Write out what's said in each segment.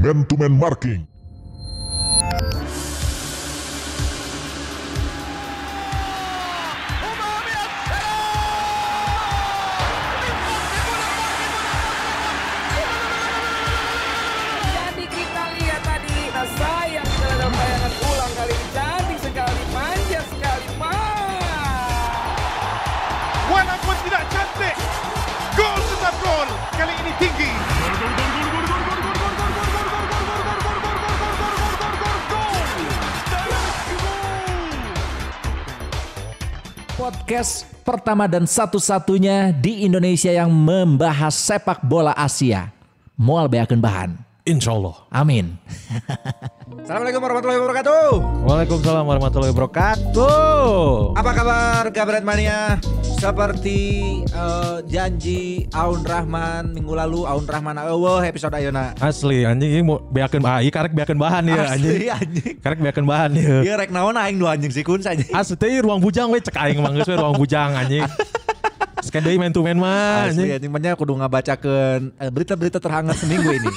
Man to Man Marking. Jadi kita lihat tadi, nah sayang sekali dalam bayangan ulang kali ini cantik sekali, manja sekali, mah. Walaupun tidak cantik, gol tetap gol. Kali ini tinggi. podcast pertama dan satu-satunya di Indonesia yang membahas sepak bola Asia. Mual beakeun bahan. Insya Allah. Amin. Assalamualaikum warahmatullahi wabarakatuh. Waalaikumsalam warahmatullahi wabarakatuh. Apa kabar kabaret mania? Seperti eh, janji Aun Rahman minggu lalu Aun Rahman Awal episode Ayona. Asli anjing ini mau beakeun ah ieu karek beakeun bahan ya Asli, anjing. anjing. Karek beakeun bahan ya. Iya rek naon aing dua anjing sikun saja. Asli teh iya, ruang bujang we cek aing mah geus we ruang bujang anjing. Sekian deui main to main mah Asli Ah, anjing. anjing banyak kudu ngabacakeun eh, berita-berita terhangat seminggu ini.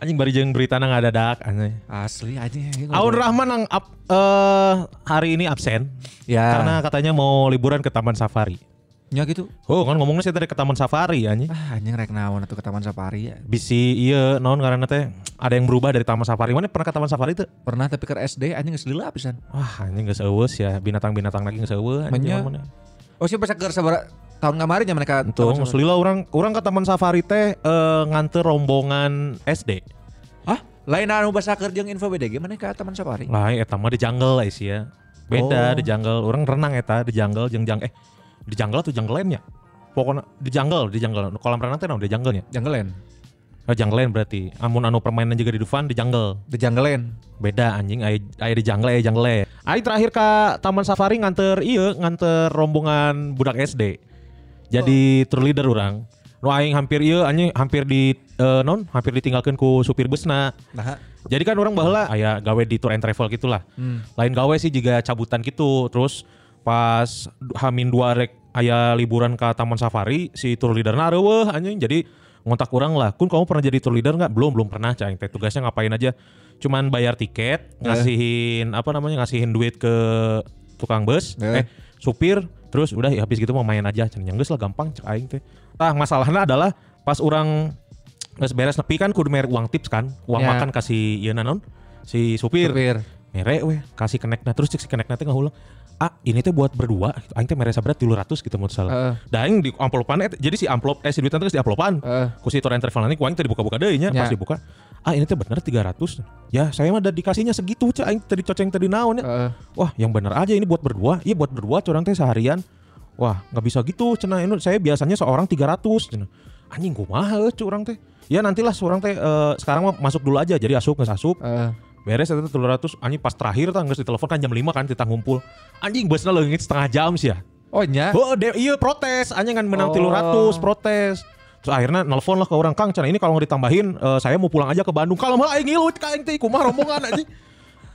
Anjing bari jeung berita nang adadak anjing. Asli anjing. anjing Aun ngobrol. Rahman yang up- eh, hari ini absen Ya. karena katanya mau liburan ke Taman Safari. Nya gitu. Oh kan ngomongnya saya tadi ke Taman Safari anjing. Ah anjing rek naon atuh ke Taman Safari ya. Bisi iya naon karena teh ada yang berubah dari Taman Safari. Mana pernah ke Taman Safari tuh? Pernah tapi ke SD anjing geus lila pisan. Wah anjing gak seueus ya binatang-binatang lagi gak seueus anjing. Menya. mana-mana. Oh sih pas keur sabara tahun kemarin ya mereka Untung Taman Safari. selila orang orang ke Taman Safari teh eh, nganter rombongan SD. Hah? Lain anu basa jeung info BDG mana ke Taman Safari? Lah eta mah di jungle eh, sih ya. Oh. Beda di jungle. Orang renang eta di jungle jeung jang eh di jungle atau jungle lainnya. Pokoknya di jungle, di jungle. Kolam renang teh naon di jungle nya. Janggelen. Oh, jungle lain berarti. Amun anu permainan juga di Dufan di jungle. The Janggelen. Beda anjing aya aya di jungle aya jungle. Ai terakhir ka Taman Safari nganter iya nganter rombongan budak SD. Jadi tour leader orang. Nu aing hampir iya anjing hampir di eh, non hampir ditinggalkan ku supir busna. Nah, Jadi kan orang Hmm. baheula aya gawe di tour and travel gitulah. Lain gawe sih juga cabutan gitu. Terus pas Hamin dua rek aya liburan ke Taman Safari si tour leader nareuweuh anjing. Jadi ngontak orang lah, kun kamu pernah jadi tour leader nggak? Belum, belum pernah cah. Teh tugasnya ngapain aja? Cuman bayar tiket, ngasihin apa namanya ngasihin duit ke tukang bus, Eh. eh supir, terus udah ya habis gitu mau main aja. Cenah geus lah gampang cek aing teh. Tah masalahnya adalah pas orang Nges beres nepi kan kudu mere uang tips kan Uang Ya. makan kasih ieu nanon Si supir, Supir. Mere weh kasih kenekna Terus cek si kenekna teh ngahulang Ah ini teh buat berdua Aing teh mere sabrat 300 gitu Heeh. menurut salah Da aing di amplopan eh, Jadi si amplop Eh si duitan terus di amplopan Heeh. Ku si torrent travel nanti Ku aing teh dibuka-buka deh nya Ya. Pas dibuka Ah ini teh bener 300 Ya saya mah ada dikasihnya segitu Cek aing tadi coceng tadi naon ya Heeh. Wah yang bener aja ini buat berdua Iya buat berdua curang teh seharian Wah nggak bisa gitu cina ini saya biasanya seorang 300 cina Anjing kumaha eh, curang teh Ya nantilah seorang teh eh, sekarang mah masuk dulu aja jadi asup nggak asup Eh, beres itu 300 anjing pas terakhir tah geus ditelepon kan jam 5 kan kita ngumpul anjing busna leungit setengah jam sih ya oh nya. Oh, de- iya protes, anjing kan menang Oh. 300 protes. Terus akhirnya nelfon lah ke orang Kang, cina ini kalau nggak ditambahin eh, saya mau pulang aja ke Bandung. Kalau malah aing ngilut ka aing teh kumaha rombongan anjing.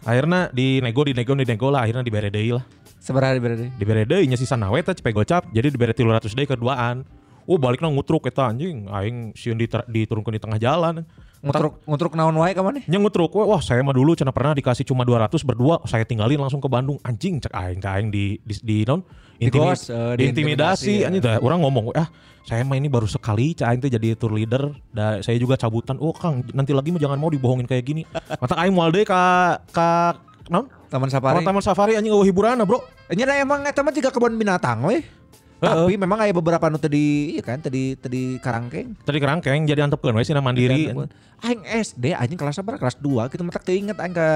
akhirnya dinego dinego dinego lah akhirnya dibere deui lah. Seberapa berarti? Dibere deui nya sisa nawe teh cepet gocap. Jadi dibere 300 deui keduaan. Oh baliknya ngutruk eta anjing aing sieun diter- diturunkeun di tengah jalan. Ngutruk ngutruk naon wae ka mana? Nya ngutruk, wah saya mah dulu cina pernah dikasih cuma 200 berdua, saya tinggalin langsung ke Bandung. Anjing cek aing cek aing di di, di non Digos, eh, diintimidasi, diintimidasi ya. anjing dah, orang ngomong, ah saya mah ini baru sekali cek aing teh jadi tour leader, da, saya juga cabutan. Oh Kang, nanti lagi mah jangan mau dibohongin kayak gini. Mata aing moal deui ka ka non? Taman Safari. Taman-taman safari anjing eueuh hiburanna, Bro. Nya lah emang eta mah juga kebun binatang we. Tapi memang aya beberapa nu tadi iya kan tadi tadi karangkeng. Tadi kerangkeng jadi antepkeun we sina mandiri. Gitu kan, Aing SD anjing kelas berapa? Kelas 2 gitu mah tak teu inget aing ke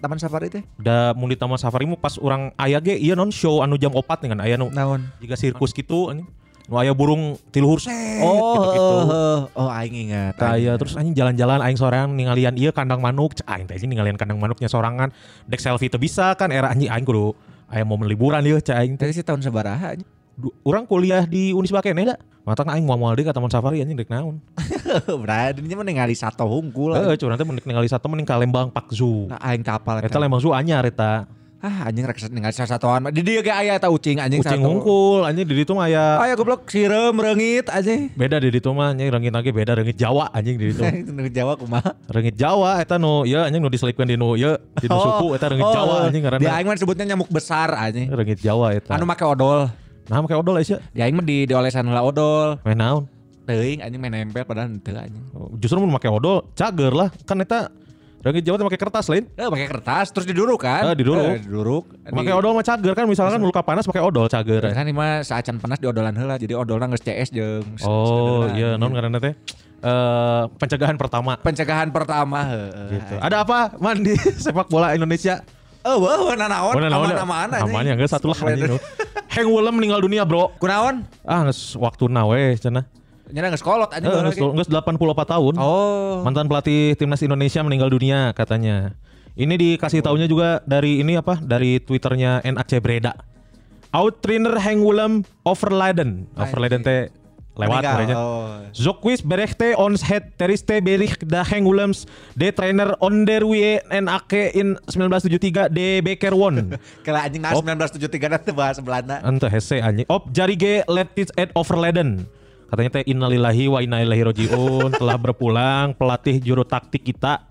Taman Safari teh. Da mun di Taman Safari mah pas orang aya ge ieu non show anu jam 4 nih kan aya nu Naon? jika sirkus gitu anjing. Nu aya burung tiluhur set Oh, gitu-gitu. eh, oh aing ingat. aing Tah, iya. ingat. terus anjing jalan-jalan aing sorean ningalian ieu kandang manuk. Cek aing teh anjing ningalian kandang manuknya sorangan. Dek selfie teu bisa kan era anjing aing kudu aya momen liburan ieu cek aing teh. Tadi sih tahun sabaraha anjing. Du- Urang kuliah di Unisba keneh da. Matang aing moal-moal deui ka Taman Safari anjing dek naon. Berarti nya mah ningali sato hungkul. Heeh, curang teh mending ningali satu mending ka Lembang Pakzu. Nah, aing kapal. Eta Lembang Zoo anyar eta. ah anjing rek ningali sasatoan mah. di dieu ge aya eta ucing anjing Ucing satu. ngungkul, anjing di ditu mah aya Aya goblok sireum reungit anjing. beda di ditu mah anjing rengit lagi beda rengit Jawa anjing di ditu. Nu Jawa kumaha? Rengit Jawa eta nu ieu anjing nu diselipkeun di nu ieu di nu suku eta rengit Jawa anjing Oh. Di ngaranna. aing mah disebutnya nyamuk besar anjing. Rengit Jawa eta. Anu make odol. Nah, make odol aja. Di aing mah di diolesan heula odol. Main naon? Teuing anjing main nempel padahal henteu anjing. Justru mun make odol cager lah kan eta rengit Jawa teh make kertas lain. Eh pakai kertas terus diduruk kan? Eh, diduruk. Eh, diduruk. Make Di- odol mah cager kan misalkan luka panas pakai odol cager. eh. Kan ini mah saacan panas diodolan heula jadi odolna geus CS jeung Oh, saudara. iya non karena teh eh pencegahan pertama. pencegahan pertama heeh. Gitu. Ada apa mandi sepak bola Indonesia? Eh, wah, wah, nanaon, Mana namanya? aman-aman anjing. Namanya enggak satu ya, lah anjing. nu. Heng Willem meninggal dunia, Bro. Kunaon? Ah, geus waktu nawe cenah. Nyana geus kolot anjing Heeh, baheula Eh, geus geus 84 tahun. Oh. Mantan pelatih timnas Indonesia meninggal dunia katanya. Ini dikasih taunya juga dari ini apa? Dari Twitternya NAC Breda. Outtrainer Heng Willem Overleiden. Overleiden teh lewat Meninggal, kayaknya. oh. Zokwis berechte ons het teriste berich da Heng Willems de trainer onder wie NAK in 1973 de Beker won. Kala anjing Oh. nah 1973 dah teu bahasa Belanda. Ente Anu hese anjing. Op jarige letit at overladen. Katanya teh innalillahi wa inna ilaihi rojiun telah berpulang pelatih juru taktik kita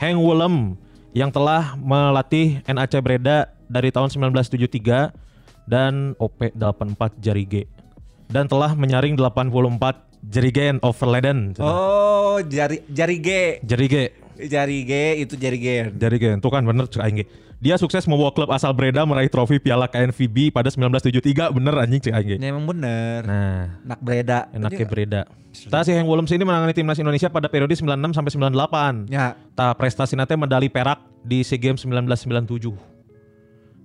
Heng Willem yang telah melatih NAC Breda dari tahun 1973 dan OP 84 jarige dan telah menyaring 84 jerigen overladen. Oh, jari jari G. Jarige Jari G itu jari G. Jadi gen, tuh kan bener cek aing ge. Dia sukses membawa klub asal Breda meraih trofi Piala KNVB pada 1973 bener anjing cek aing ge. Ya, emang bener. Nah, Nak bereda. enaknya Breda. Tah si Heng Willems ini menangani timnas Indonesia pada periode 96 sampai 98. Ya. Tah prestasinya teh medali perak di SEA Games 1997.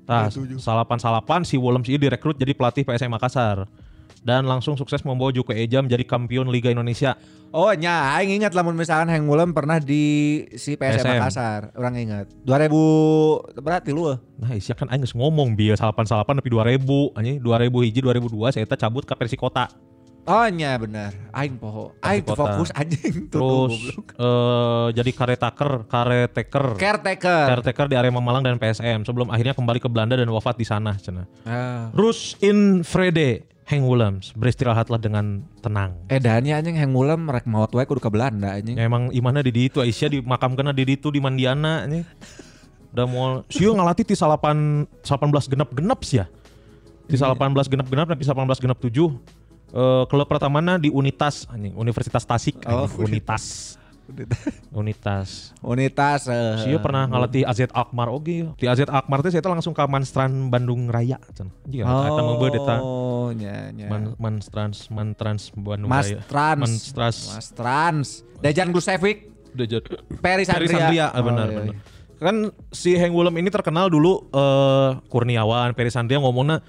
Tah salapan-salapan si Willems ini direkrut jadi pelatih PSM Makassar dan langsung sukses membawa Juke Eja menjadi kampion Liga Indonesia. Oh, nya aing ingat lamun misalkan Heng Wulan pernah di si PSM PSM. Makassar. Orang ingat. 2000 berarti lu. eh. Nah, isya kan aing geus ngomong bieu salapan-salapan tapi 2000, anjing 2000 hiji 2002 saya eta cabut ke Persikota. Oh, nya bener. Aing poho. Aing tuh kota. fokus anjing tuh. Terus goblok. eh jadi caretaker, caretaker, caretaker. caretaker di Arema Malang dan PSM sebelum akhirnya kembali ke Belanda dan wafat di sana. Cina. Ah. Rus in Frede, Heng Willems beristirahatlah dengan tenang. Edannya Eh, anjing Heng Wulan merek maut wae kudu ke Belanda anjing. Ya, emang imannya di ditu Aisyah di makam kena di ditu di Mandiana ini. Udah mau siu ngelatih di salapan 18 genep genep sih ya. Di Iya. salapan 18 genep genep tapi 18 genep 7 eh klub pertamana di Unitas anjing Universitas Tasik Oh, anjing, Unitas Unitas Unitas. eh. Sio pernah ngelatih AZ Akmar oge. Di AZ Akmar teh saya langsung ke Manstran Bandung Raya. Cenah. Iya, eta mah beuh eta. Oh, nya nya. Man, Manstrans, Mantrans Bandung Mas Raya. Trans. Manstras. Mas Trans. Dejan Gusevic. Dejar. Peri Peri Sandria. Sandria, ah, benar Oh, iya, benar. Kan si Heng Willem ini terkenal dulu eh, Kurniawan, Peri Sandria ngomongnya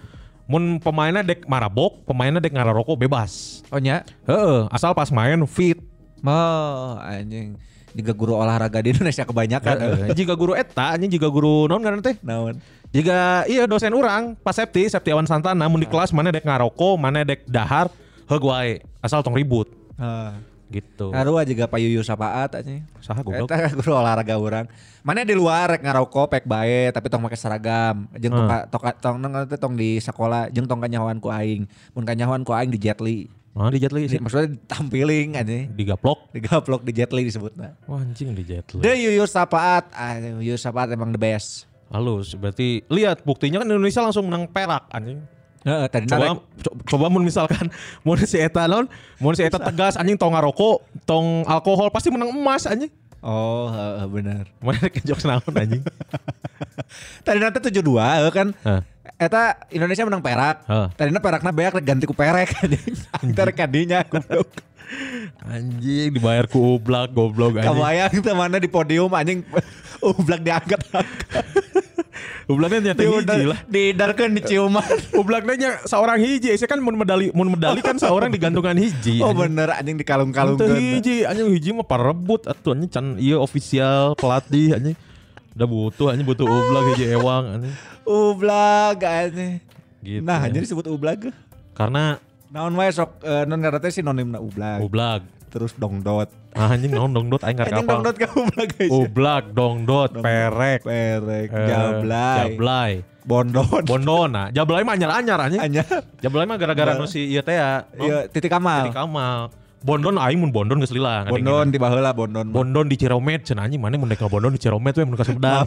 mun pemainnya dek marabok, pemainnya dek ngararoko bebas. Oh nya. Heeh, asal pas main fit. Oh anjing. Juga guru olahraga di Indonesia kebanyakan. Heeh. Jika Kan, eh, guru eta, anjing jika guru naon ngaranna teh? Naon. Jika iya dosen orang pas Septi, Septi Awan Santana mun di kelas mana dek ngaroko, mana dek dahar, heug wae asal tong ribut Ah. gitu. Ngarua juga Pak Yuyu Sapaat anjing. Saha goblok. Eta guru olahraga orang. Mana di luar rek ngarokok pek bae tapi tong make seragam. Jeung tong ka- tong ka- tong nang teh tong di sekolah jeung tong kanyahoan ku aing. Mun kanyahoan ku aing di Jetli. Nah, di jetli sih Maksudnya tampiling anjing. digaplok. Digaplok di Jetli disebutna. Wah, anjing di jetli. The Yuyus Sapaat, ah, Yuyus Sapaat emang the best. Halus, berarti lihat buktinya kan Indonesia langsung menang perak anjing. Heeh, tadi Coba co- coba mun misalkan mun si eta naon, mun si eta tegas anjing tong ngaroko, tong alkohol pasti menang emas anjing. Oh, heeh benar. Mana dek jokes naon anjing. Tadi nanti 72 heuh kan. Heeh. Eta Indonesia menang perak. Heeh. Tadi perakna beak rek ganti ku perek anjing. Antar kadinya goblok. Anjing dibayar ku ublak goblok anjing. Kabayang temannya di podium anjing ublak diangkat. Ublaknya nyata hiji lah. Didarkeun diciuman. Iya, Ublaknya seorang hiji, saya kan mun medali mun medali kan seorang digantungan hiji. Oh bener anjing dikalung-kalung Iya, Teu hiji, anjing hiji mah parebut atuh anjing can ieu official pelatih anjing. Udah butuh anjing butuh ublak hiji ewang anjing. Ublak anjing. Gitu. Nah, ya. jadi disebut ublak. karena eh, Naon wae sok eh, non ngarantina sinonim sinonim na ublak. ublak Ah, terus dongdot. Anjing dong dong dot aing ngarek Anjing apa? dongdot kamu guys. Ublak dong dot perek. Perek, eh, jablay, Jablay. bondon, Bondona. Jablay mah anyar-anyar anjing. anyar. Jablay mah gara-gara nu Jablay. si ieu teh ya. Iya, titik amal. Titik Kamal. Bondon aing mun bondon geus lila. Bondon tiba heula bondon. Bondon di Ciromed cenah anjing mana mun dek bondon di Ciromed we mun ka Sumedang.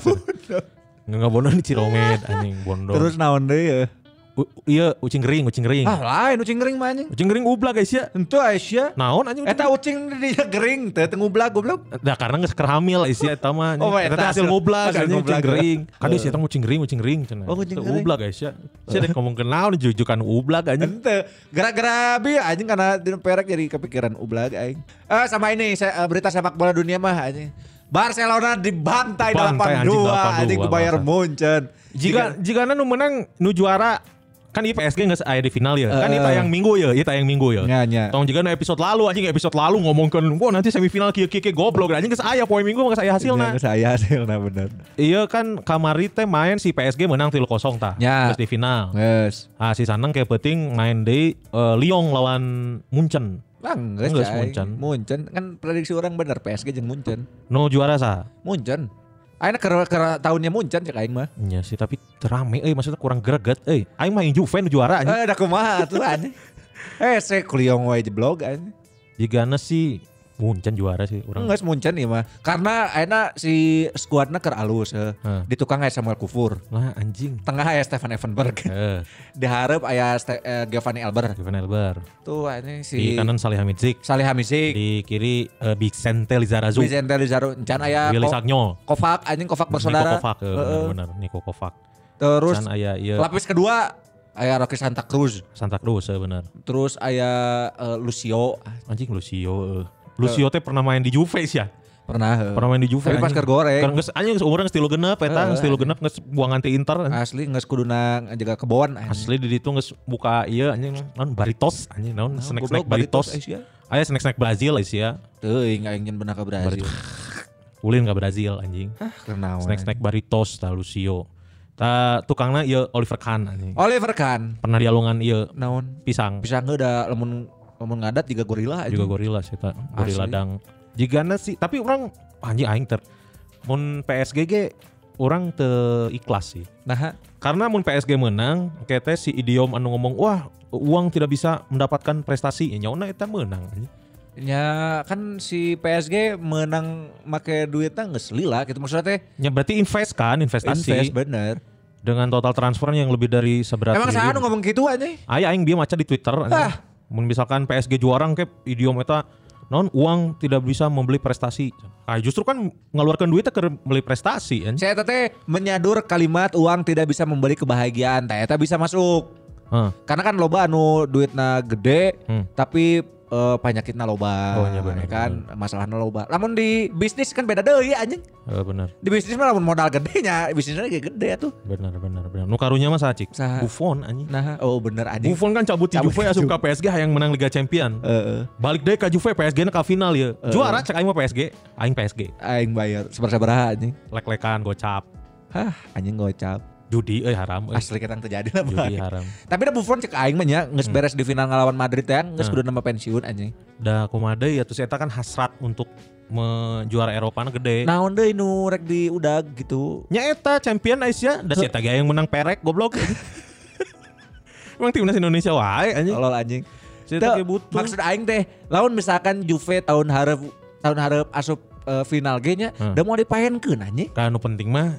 Nggak bondon di Ciromed anjing bondon. Terus naon deui ya? U- iya ucing kering, ucing kering. Ah, lain ucing gering mah anjing. Ucing kering ublak guys ya. Entu Aisyah. Naon anjing ucing Eta ucing di dia gering teh tengu blag goblok. Nah karena nggak kerhamil isi eta mah. Oh, eta Eta teh hasil- hasil ngoblak, hasil hasil ngoblak. ucing gering. Kan sih eta mah ucing gering, ucing gering cenah. Oh, ucing Eta gering. Ublak guys ya. Sia dek ngomong kenal jujukan ublak anjing. Ente gara-gara bi anjing karena di perek jadi kepikiran ublag aing. Eh sama ini saya, eh, berita sepak bola dunia mah anjing. Barcelona dibantai Bantai, anjing, 82 anjing 82, ku Bayern bangsat. Munchen. Jika jika nu menang nu juara kan di PSG nggak aya di final ya. Kan Eh. itu yang minggu ya, itu yang minggu ya. Nya, nya. Tong juga nu episode lalu anjing episode lalu ngomongkeun, "Wah, nanti semifinal kieu kieu kieu goblok." Anjing geus aya poin minggu mah Ya, geus aya hasilna. saya hasilna bener. Iya kan kamari teh main si PSG menang 3-0 tah. Nya. Terus di final. Geus. Ah si Sanang kayak penting main di eh, Lyon lawan Munchen. Bang, geus Geus, cai. Munchen. Munchen kan prediksi orang bener PSG jeung Munchen. No juara sa. Munchen. Aina ke, ke tahunnya Munchen cek aing mah. Iya sih tapi rame eh maksudnya kurang greget eh. Aing mah yang Juve nu juara anjing. Eh, da kumaha tuh anjing. Eh, saya kuliong wae jeblog anjing. Jigana sih Munchen juara sih orang. Enggak Munchen ieu mah. Karena aina si skuadna keur alus heuh. Heeh. Di tukang aya Samuel Kufur. Lah anjing. Tengah aya Stefan Effenberg. Eh, Di hareup aya Ste- eh, Giovanni Elber. Kevin Elber. Tuh anjing si Di kanan Salih Hamidzik, Saleh Hamisi, di kiri eh, Vicente Lizarazu, Vicente Lizarro, encan aya Willy Ko- Sagnol, Kovac anjing Kovac Niko bersaudara. Kovac, eh, Heeh. benar Niko Kovac. Terus Terus aya iya. ya. ieu lapis kedua aya Rocky Santa Cruz. Santa Cruz eh, benar. Terus aya eh, Lucio Anjing Lucio. eh. Lucio teh pernah main di Juve sih ya. pernah. heuh. Pernah main di Juve. Tapi pas eh. anjing. keur goreng. Keur geus anjing geus umurna geus tilu genep Eh, eta, geus tilu genep geus buang anti Inter. anjing. Asli nggak sekuduna jaga kebon. anjing. Kan. Asli di ditu geus buka ieu anjing naon baritos anjing naon snack-snack Nah, goblok, baritos, Nah, eh, baritos. sia. Aya snack-snack Brazil eh, sia. Tuh ingat ingin benar ke Brazil. Ah, Ulin ka Brazil anjing. Kenawan. Snack-snack baritos ta Lucio. Ta tukangna ieu Oliver Kahn anjing. Oliver Kahn. Pernah dialongan ieu Naon. pisang Bisa nggak ada lemun lemun ngadat juga gorila juga gorila sih ta. Gorila Asli. dang. Jigana sih tapi orang anjing aing ter mun PSG ge orang te ikhlas sih. Nah, Karena mun PSG menang, kete si idiom anu ngomong, wah uang tidak bisa mendapatkan prestasi, ya nyauna eta menang. anjing. ya kan si PSG menang make duitnya nggak selila gitu maksudnya teh Ya berarti invest kan, investasi invest bener. dengan total transfer yang lebih dari seberat Emang saya triliun. ngomong gitu aja. Aya aing dia maca di Twitter. anjing. Ah. Mun misalkan PSG juara ke idiom eta non uang tidak bisa membeli prestasi. Ah justru kan ngeluarkan duitnya ke beli prestasi anjing. Saya teh menyadur kalimat uang tidak bisa membeli kebahagiaan, teh eta bisa masuk. Heeh. Karena kan loba anu duitna gede, Hmm. tapi eh, penyakitna loba. Oh, iya ya benar, kan masalahna loba. Namun di bisnis kan beda deui anjing. Eh, benar, Di bisnis mah lamun modal gedenya, bisnisnya ge gede atuh. benar, benar, benar. Nu karunya mah sacik. Saha? Buffon anjing. Nah, oh bener anjing. Buffon kan cabut di Cabut Juve di asup Juve. ka PSG hayang menang Liga Champion. Heeh. Balik deh ke Juve PSG na ke final ya. Juara cek aing mah PSG, aing PSG. aing bayar sabar-sabaraha anjing. Lek-lekan gocap. Hah, anjing gocap. Judi euy haram euy. Asli kita terjadi lah. Judi Bang. haram. Tapi da Buffon cek aing mah nya geus Hmm. beres di final ngelawan Madrid ya, geus kudu nambah pensiun anjing. Da kumade ya terus eta kan hasrat untuk menjuara Eropa na gede. Naon deui nu rek di udag gitu. Nya eta champion Asia, Nah. da si eta ge yang menang perek goblok. Emang timnas Indonesia wae anjing. Tolol anjing. Si eta Tuh, ge butuh. Maksud aing teh, lawan misalkan Juve tahun harap tahun harap asup eh, final ge nya, Hmm. da mau dipaenkeun anjing. Kan nu penting mah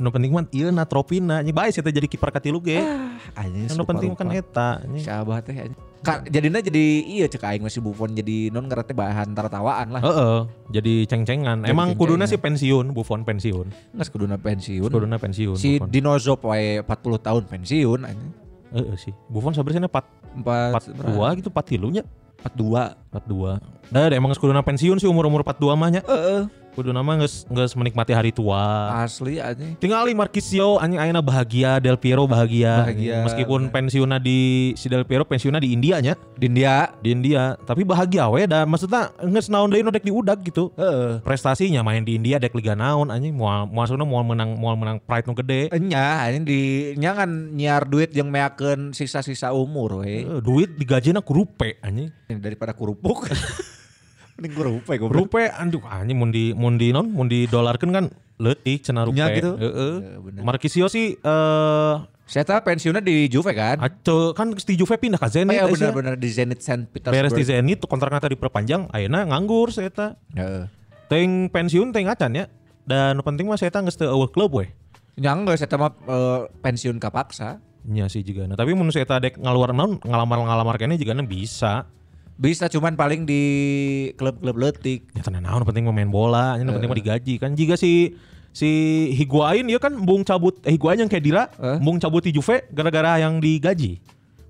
nu penting mah ieu na trofina nya bae si eta jadi kiper katilu ge. Ah. Anjing. Kan nu penting kan eta anjing. Sabah teh anjing. Ka, jadinya jadi iya cek aing masih Buffon jadi non ngerti bahan tertawaan lah. Heeh, jadi ceng-cengan. Emang kuduna ceng-cengan. sih pensiun, Buffon pensiun. Nggak sekuduna pensiun. Kuduna pensiun. Si Buffon. Dino Zob wae 40 tahun pensiun anjing. Heeh sih. Buffon sebenarnya 4 Empat, 42 gitu 4 tilu nya. 42. 42. Nah, ada emang geus kuduna pensiun sih umur-umur 42 mah nya. Heeh. Kuduna mah geus geus menikmati hari tua. Asli anjing. Tingali Marquisio anjing ayeuna bahagia, Del Piero bahagia. Bahagia, Meskipun bener. pensiunna di si Del Piero pensiunna di India nya, Di India. di India, tapi bahagia we da maksudna geus naon deui nu dek diudag gitu. Heeh. Prestasinya main di India dek liga naon anjing moal moalna moal menang moal menang pride nu gede. Enya anjing di eh, nya kan nyiar duit yang meakeun sisa-sisa umur we. Eh, Duit digajina ku rupe anjing. Ini daripada kerupuk Ini gue ya, rupa gue Rupe anduh anjing mun di mun di non mun di dolarkeun kan leutik cenah rupe. Nya gitu. Heeh. Ya, bener. Marquisio sih eh Saya tahu pensiunnya di Juve kan? aceu- kan di Juve pindah ka Oh Zenit. iya eh, sia. benar-benar di Zenit Saint Petersburg. Beres di Zenit kontrakna tadi diperpanjang ayeuna nganggur saya teh. Heeh. Ting pensiun ting acan ya. Dan nu penting mah saya teh geus teu eueuh klub we. Ya enggak, saya mah eh, pensiun kapaksa. Nya sih juga. Nah, tapi mun saya teh dek ngaluar naon ngalamar-ngalamar kene juga bisa. Bisa cuman paling di klub-klub letik. Ya tenan naon penting mah main bola, nya nu penting mah digaji kan. Jika si si Higuain ya kan bung cabut eh Higuain yang kayak Dira, Eh? bung cabut di Juve gara-gara yang digaji.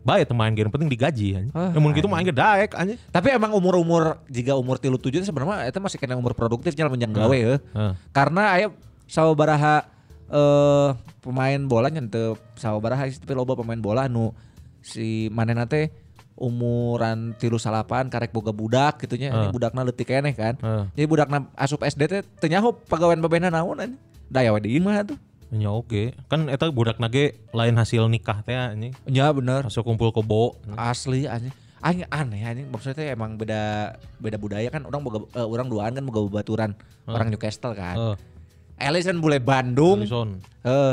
Baik teman game penting digaji kan. Ah, Namun gitu main ke daek anjing. Tapi emang umur-umur jika umur tilu tujuh sebenarnya itu masih kena umur produktif jalan menjang gawe ya. Heeh. Karena ayo sawabaraha eh pemain bola nyente sawabaraha is- tapi loba pemain bola nu si manena teh umuran tilu salapan karek boga budak gitu nya. Ini Heeh. budakna leutik keneh kan. Heeh. Jadi budakna asup SD teh teu nyaho pagawean babena naon anjing. Daya we deui mah tuh. Ya oke, kan eta budak nage lain hasil nikah teh anjing. Ya bener. Masuk kumpul kebo. asli anjing anjing aneh anjing maksudnya teh emang beda beda budaya kan orang boga, eh, orang duaan kan boga baturan orang Newcastle kan Heeh. Ellison boleh Bandung eh Alison.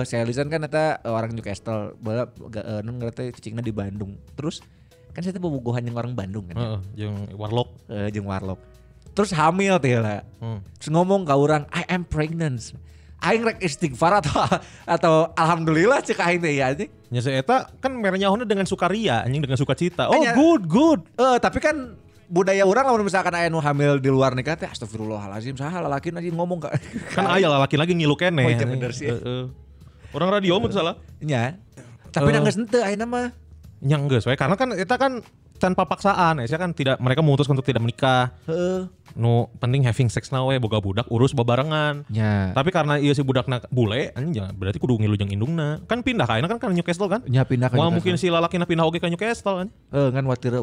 si Ellison kan eta eh, orang Newcastle bala uh, nun ngerti cicingna di Bandung terus kan saya tuh bobogohan yang orang Bandung kan Heeh, jeung Warlock. Eh, jeung Warlock terus hamil teh lah Hmm. terus ngomong ke orang I am pregnant Aing rek istighfar atau atau alhamdulillah cek aing teh ya anjing. Nya si eta kan merenyahuna dengan sukaria anjing dengan sukacita. Oh, Nya- good, good. Eh tapi kan budaya orang kalau misalkan ayah nu hamil di luar nikah teh astagfirullahalazim saha lalaki aja ngomong ka Kan aya lah laki-laki ngilu kene. Oh, iya anjing. bener sih. Heeh. Orang radio mun salah. nya tapi Eh. nangis ente ayeuna mah yang enggak sesuai karena kan kita kan tanpa paksaan ya kan tidak mereka memutus untuk tidak menikah heeh nu penting having sex now we boga budak urus babarengan nya tapi karena iya si budak nak bule anjing jangan berarti kudu ngilu jeung indungna kan pindah ka ayeuna kan ka Newcastle kan nya pindah Wah mungkin si lalaki pindah oge ka Newcastle kan eh ngan watir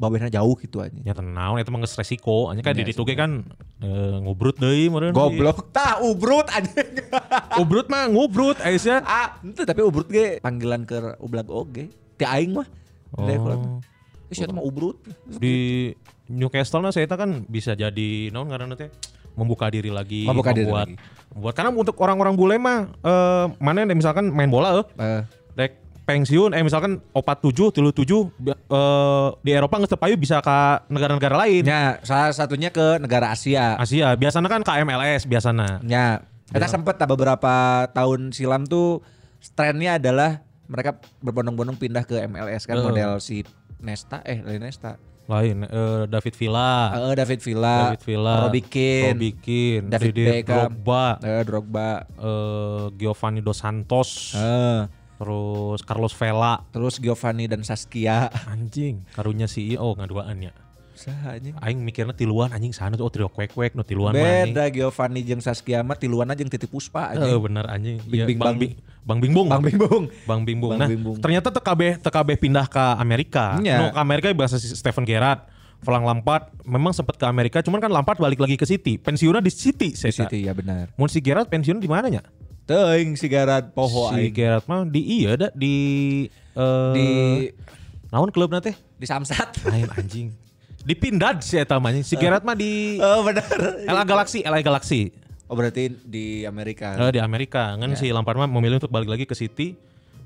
babehna jauh gitu aja ya tenang itu mah geus resiko anjing kan Iya di sih. oge kan eh, ngubrut deui meureun si- goblok tah ubrut aja ubrut mah ngubrut ya. Aisyah ah ente tapi ubrut ge panggilan ke ublag oge ti aing mah Dari oh. kulit. Ih, sia teh mah ubrut di Newcastle nah saya kan bisa jadi naon karena teh membuka diri lagi Membuka diri membuat, lagi. membuat karena untuk orang-orang bule mah eh, mana yang misalkan main bola eh Eh, rek pensiun eh misalkan opat tujuh tilu tujuh eh, di Eropa nggak payu bisa ke negara-negara lain nya salah satunya ke negara Asia Asia biasanya kan ke MLS biasanya Ya, kita sempet tak beberapa tahun silam tuh trennya adalah mereka berbondong-bondong pindah ke MLS kan Heeh. model si Nesta eh dari Nesta. lain eh, David Villa Eh, David Villa, David Villa Robbie Keane, Robbie Keane, David Didier Beckham, Drogba eh, Drogba. eh, Giovanni Dos Santos Eh, terus Carlos Vela terus Giovanni dan Saskia. anjing karunya CEO ngaduaan ya Saha anjing? aing mikirnya tiluan anjing sana tuh oh trio kwek kwek no tiluan mah anjing. Beda Giovanni jeung Saskia mah tiluan aja jeung titip puspa Eh, aja. bener anjing Bing, Iya, bing, bang bang. bing bang bingbong Bang Bimbung. bang bingbong Bang nah Bingbong. ternyata TKB TKB pindah ke Amerika Iya. no ke Amerika bahasa si Stephen Gerrard Pelang Lampard memang sempat ke Amerika cuman kan Lampard balik lagi ke City pensiunnya di City saya Di situ ya benar. Mun si Gerrard pensiun di mananya Teuing si Garad Poho si aing. Gerrard oh, mah di iya da di eh, Di- naon klubna teh Di Samsat. lain anjing dipindah si eta mah anjing. si Gerrard mah di Oh benar. LA Galaxy LA Galaxy Oh berarti di Amerika. Eh, di Amerika Ya. kan si Lampard mah memilih untuk balik lagi ke City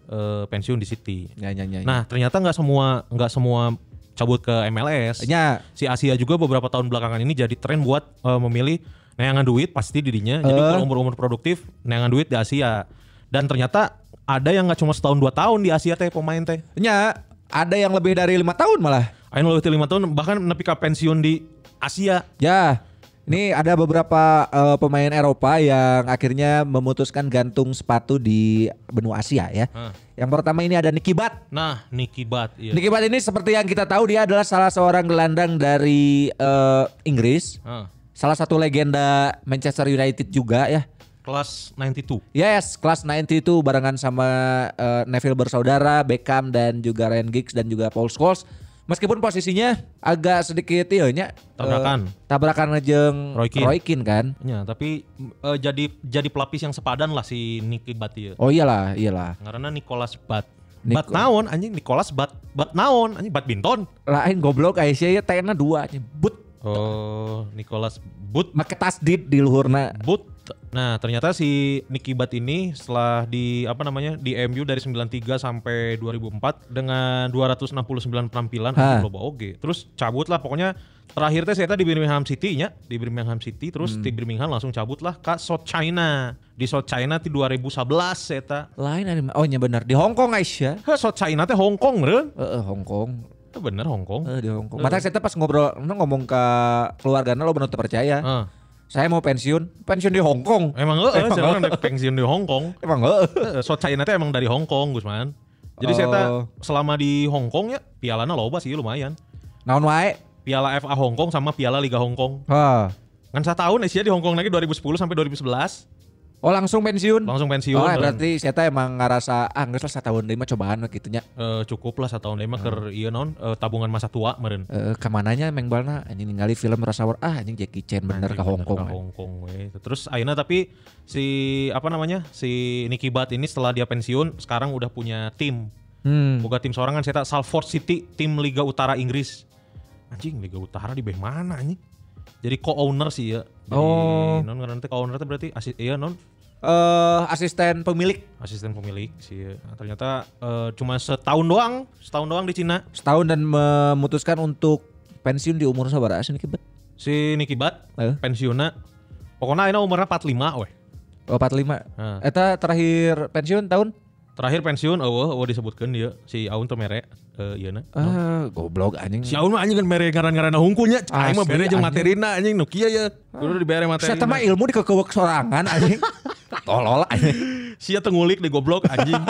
eh, pensiun di City. Ya, ya, ya, ya. Nah ternyata nggak semua nggak semua cabut ke MLS. Ya. Si Asia juga beberapa tahun belakangan ini jadi tren buat eh, memilih neangan duit pasti dirinya. Jadi Eh. kalau umur-umur produktif neangan duit di Asia. Dan ternyata ada yang nggak cuma setahun dua tahun di Asia teh pemain teh. Nya, ada yang lebih dari lima tahun malah. Ayo lebih dari lima tahun bahkan nepi ka pensiun di Asia. Ya, ini ada beberapa eh, pemain Eropa yang akhirnya memutuskan gantung sepatu di benua Asia ya. Hah. Yang pertama ini ada Nicky Butt. Nah Nicky Bat. Iya. Nicky Butt ini seperti yang kita tahu dia adalah salah seorang gelandang dari eh, Inggris. Ah, Salah satu legenda Manchester United juga ya. kelas 92. Yes, kelas 90 itu barengan sama eh, Neville bersaudara, Beckham dan juga Ryan Giggs dan juga Paul Scholes. Meskipun posisinya agak sedikit iya nya eh, Tabrakan. tabrakan jeung Roy Keane. Roy Keane kan. Ya, tapi eh, jadi jadi pelapis yang sepadan lah si Nicky Bat ieu. Oh iyalah, iyalah. Karena Nicholas Bat. Nico- Bat naon anjing Nicholas Bat Bat naon anjing badminton. Lain goblok Aisyah ya tena iya, dua anjing. But Oh, Nicholas But Make tasdid di luhurna. But. Nah, ternyata si Nicky Butt ini setelah di apa namanya? di MU dari 93 sampai 2004 dengan 269 penampilan Hah. anjing loba oge. Terus cabut lah pokoknya terakhir teh saya di Birmingham City nya, di Birmingham City terus Hmm. di Birmingham langsung cabut lah ke South China. Di South China di 2011 saya Lain ada oh nya benar di Hong Kong Aisyah. South China teh Hong Kong, Ren. Heeh, Hong Kong. Eh, Bener Hong Kong. Eh, di Hong Kong. Mata saya teh pas ngobrol nu ngomong ke nah, keluargana lo benar teu percaya. Ah. Saya mau pensiun, pensiun di Hong Kong. Emang eh, heeh, Emang saya orang dek pensiun di Hong Kong. Emang eh, heeh. Heeh, Eh, so China teh emang dari Hong Kong, Gusman. Jadi saya teh Oh. selama di Hong Kong ya pialana loba sih lumayan. Naon wae? Piala FA Hong Kong sama Piala Liga Hong Kong. Hah. Kan saya tahun Asia di Hong Kong lagi 2010 sampai 2011 Oh langsung pensiun? langsung pensiun. Oh, eh. dan, berarti saya teh emang ngerasa ah nggak salah tahun lima cobaan gitu nya. eh, cukup lah satu tahun lima Hmm. ker iya non eh, tabungan masa tua meren. Eh, kemananya Meng Balna anjing ningali film Rush Hour ah anjing Jackie Chan bener ke Hong Kong. eh. we. Ke Hong Kong we. Terus akhirnya tapi si apa namanya? si Nicky Butt ini setelah dia pensiun sekarang udah punya tim. Hmm. Boga tim seorang kan saya tak Salford City tim Liga Utara Inggris. Anjing Liga Utara di beh mana anjing? Jadi co-owner sih ya. Jadi, Oh. Non nanti co-owner itu berarti asis, iya non Eh, asisten pemilik asisten pemilik sih. ya. Nah, ternyata eh, cuma setahun doang, setahun doang di Cina. setahun dan memutuskan untuk pensiun di umur sabar asin kibet. Si Nicky Bat Eh. pensiunnya. Pokoknya ini umurnya 45 weh. Oh, 45. Nah. Eta terakhir pensiun tahun Terakhir pensiun eh, eueuh eueuh disebutkeun dia si Aun teu mere eh ieu ah goblok anjing. Si Aun mah anjing kan mere ngaran-ngaran hungkulnya. Aing mah Asli, bere jeung anjing. materina anjing nu kieu ya. Kudu dibere materina. Saya mah ilmu dikekewek sorangan anjing. Tolol anjing. Sia teu ngulik di goblok anjing.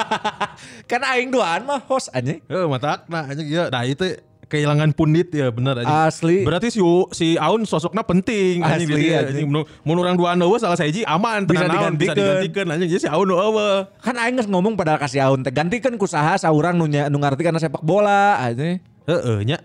Kan aing duaan mah host anjing. Heuh mata nah anjing ieu. Nah itu kehilangan pundit ya bener anjing. Asli. Berarti si si Aun sosokna penting Asli, jadi, iya, anjing. anjing. Mun- Mun urang dua eueuh salah saiji aman Bisa tenan naon, bisa digantikan. digantikan anjing jadi si Aun oh, nu eueuh. Kan aing geus ngomong padahal kasih aun teh gantikan kusaha saurang nu nya- nu ngarti kana sepak bola anjing. Heeh nya.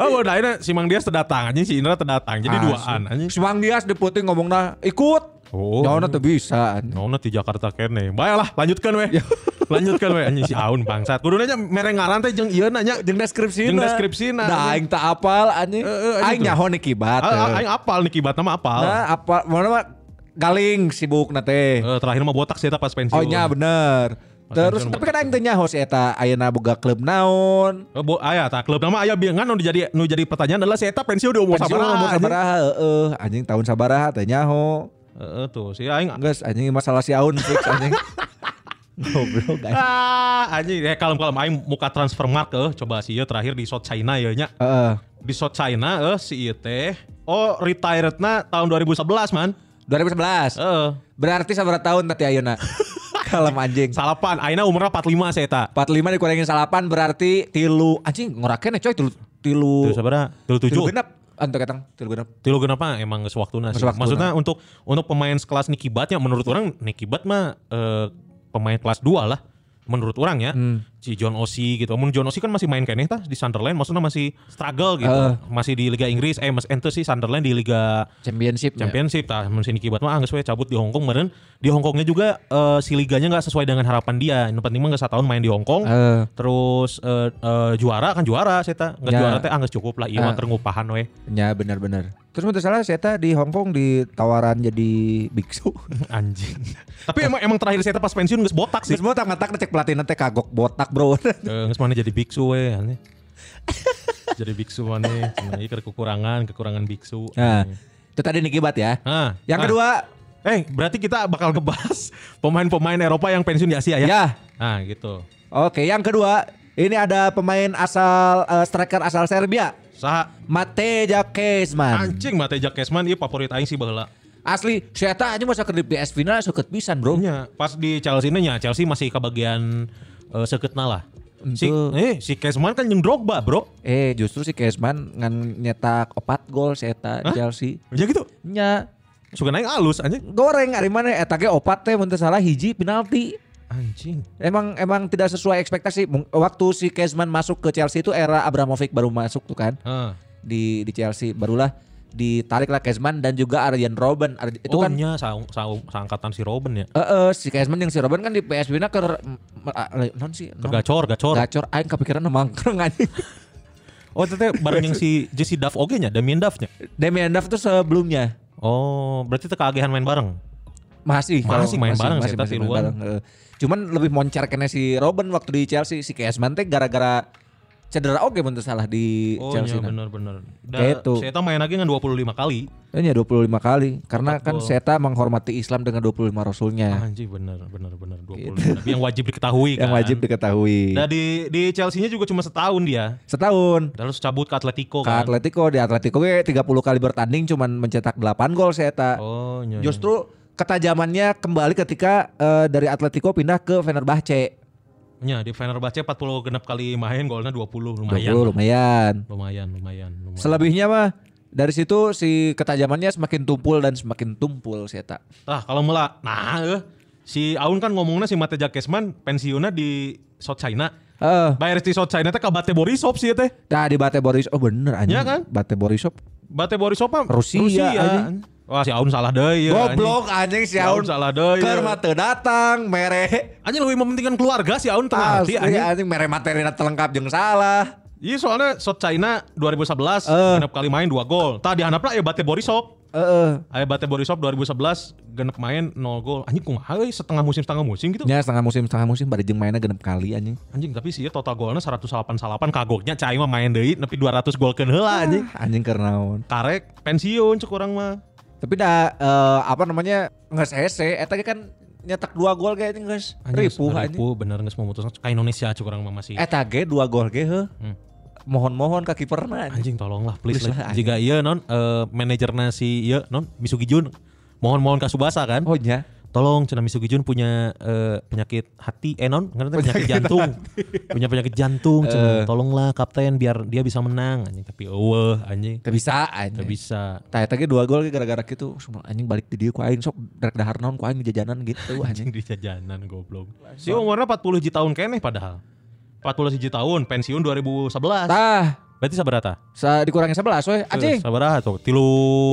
Oh, udah akhirnya si Mang Dias terdatang anjing si Indra terdatang. Jadi duaan anjing. Semang Ah, Dias deputi ngomongna ikut. Oh. Nyaona teu bisa anjing. Nona di Jakarta kene. Baiklah, lanjutkan weh. lanjutkan weh anjing si Aun bangsat. Kudu nanya mere ngaran teh jeung ieu nanya Jeung deskripsina. Jeung deskripsina. Eh, Da aing teu apal anjing. Heeh, anjing Aing tuh. nyaho nikibat. A- a- Ah, Aing apal Niki Batna mah apal. Nah, apa mana mah galing sibuk na teh. Eh, terakhir mah botak sih eta pas pensiun. Oh nya bener. Pas Terus pensiun tapi botak. kan aing teu nyaho si eta ayeuna boga klub naon. Eh, bo, aya tak klub nama aya biengan nu jadi nu jadi pertanyaan adalah si eta pensiun di umur Pensiun sabaraha. umur anjing? sabaraha heeh anjing tahun sabaraha teh nyaho. Heeh, Eh, tuh si aing Geus anjing masalah si Aun fix anjing. Goblok anjing. ah anjing eh kalem-kalem aing muka transfer mark eh coba sih ieu terakhir di South China ieu nya. Heeh. Di South China eh si ieu teh oh retiredna tahun 2011 man. Eh, 2011. Heeh. Berarti sabaraha tahun tadi ayeuna? Kalem anjing. Salapan, aina umurna 45 si eta. 45 dikurangin salapan berarti tilu anjing ngorakeun ya coy tilu tilu Tuh sabaraha? Tilu tilu tujuh. genep antuk ketang tilu genep. Tilu kenapa emang sewaktunya sih. Geus waktuna. Maksudnya untuk untuk pemain sekelas Nicky Bat ya menurut orang Nicky Bat mah eh, pemain kelas 2 lah menurut orang ya. Si John Osi gitu. Mun John Osi kan masih main kayaknya tah di Sunderland maksudnya masih struggle gitu. Eh. Masih di Liga Inggris eh mas ente sih Sunderland di Liga Championship. ya. Championship tah mun si Nicky Bat mah geus we cabut di Hong Kong meureun di Hong Kongnya juga eh, si liganya nggak sesuai dengan harapan dia. Yang penting mah geus setahun main di Hong Kong. Eh. Terus eh, eh, juara kan juara saya tah. Nggak Ya. juara teh ah geus cukup lah ieu Eh. mah keur ngupahan we. Ya benar-benar. Terus menurut salah saya teh di Hong Kong ditawaran jadi biksu. Anjing. Eh, Tapi emang emang terakhir saya pas pensiun geus botak Terus sih. mau tak ngecek pelatih nanti kagok botak bro. Eh, Geus mana jadi biksu we aneh. jadi biksu mana sebenarnya ke kekurangan kekurangan biksu. nah, itu tadi Nikibat ya. Ah, Yang ah. kedua, Eh, berarti kita bakal ngebahas pemain-pemain Eropa yang pensiun di ya. Asia ya? Nah, gitu. Oke, yang kedua ini ada pemain asal eh, striker asal Serbia, Saha Mateja Kezman. anjing Mateja Kesman ieu favorit aing sih baheula. Asli, saya teh aja masa di PS final seket pisan bro. Nya, Iya, pas di Chelsea nya Chelsea masih kebagian bagian sekeutna lah. Si, Entuh. eh, si Kesman kan jeung Drogba, Bro. Eh justru si Kezman ngan nyetak opat gol saya teh di Hah? Chelsea. Ya gitu. Nya Suka naik alus anjing. goreng ari mana eta ge opat teh mun teu salah hiji penalti. Anjing. Emang emang tidak sesuai ekspektasi. Mung- Waktu si Kezman masuk ke Chelsea itu era Abramovich baru masuk tuh kan Heeh. di di Chelsea barulah ditariklah Kezman dan juga Arjen Robben. Ar- itu oh, kan nya saung- saung- saangkatan si Robin ya. eh eh, si Kezman yang si Robben kan di PSV na ker m- m- a- non sih non- Gacor, gacor. gacor aing kepikiran emang kereng anjing. Oh tete bareng yang si Jesse Duff oge nya, Damien Duff nya. Damian Duff tuh sebelumnya Oh, berarti teu keagihan main bareng. masih kalau- Masih main bareng sih, tapi main luan. bareng, heeh. Cuman lebih moncer kena si Robin waktu di Chelsea si Keesman teh gara-gara cedera oke bentuk salah di Oh Chelsea. iya nah. bener-bener. Gitu. Saya tahu main lagi dengan 25 kali. Iya 25 kali karena Empat kan gol. Seta menghormati Islam dengan 25 rasulnya Anjir bener bener bener 25. Tapi yang wajib diketahui Nah. kan. Gitu. yang wajib diketahui. Nah di di Chelsea-nya juga cuma setahun dia. Setahun Terus cabut ke Atletico ke kan. Atletico di Atletico ge 30 kali bertanding cuman mencetak 8 gol Seta. Oh, iya, iya. Justru ketajamannya kembali ketika eh, dari Atletico pindah ke Fenerbahce. Ya, di Fenerbahce 40 genap kali main golnya 20 lumayan. 20 lumayan. Lumayan, lumayan, lumayan. Selebihnya mah dari situ si ketajamannya semakin tumpul dan semakin tumpul si Eta. Tah, kalau mula, nah eh, si Aun kan ngomongnya si Mateja Kesman pensiunnya di South China. Heeh. Bayar di South China teh ka Bate Borisov sih ya teh. Eh, nah di Bate Boris, oh bener anjing. Iya kan? Bate oh. Borisov. Bate Borisov mah Rusia, anjing. Wah, si Aun salah deui ya, Goblok anjing si Si Aun. Aun salah iya. deui. Keur mah teu datang, mere. Anjing lebih mementingkan keluarga si Aun tengah Asli hati anjing. anjing mere materi terlengkap jeung salah. Iya soalnya South China 2011 Eh. genep kali main 2 gol. Tah dihandapna ya Bate Borisov. Heeh. Aya Bate Borisov 2011 genep main 0 gol. Anjing kumaha euy setengah musim setengah musim gitu. Ya setengah musim setengah musim bari jeung mainnya genep kali anjing. Anjing tapi sih total golnya 188 kagoknya cai mah main deui nepi 200 gol Ya. heula anjing. Anjing keur naon. Karek pensiun cek orang mah. Tapi dah eh, apa namanya? Nges hese eta ge kan nyetak dua gol ge anjing geus. Ripuh anjing. ripuh bener geus memutuskan ka Indonesia cek orang mah masih. Eta ge dua gol ge heuh. Hmm. Mohon-mohon ka kiperna anjing. Anjing tolonglah please, Please lah, lah. anjing. Jika iya non eh, manajerna si iya non Misugi Jun mohon-mohon ka Subasa kan. Oh nya. Tolong Cenah Misugi Jun punya eh, penyakit hati eh non ngerti penyakit Eh. jantung. punya penyakit jantung Cenah. Tolonglah kapten biar dia bisa menang anjing tapi eueuh anjing. Teu bisa anjing. Gak bisa. Tah eta ge dua gol ge gara-gara kitu Semua anjing balik di dieu ku aing sok rek dahar naon ku aing jajanan gitu anjing. anjing di jajanan goblok. Si umurnya 40 ji tahun keneh padahal. 40 hiji tahun pensiun 2011. Tah, Berarti sabarata? sa dikurangi 11 we anjing. Eh, Sabaraha tuh? Tilu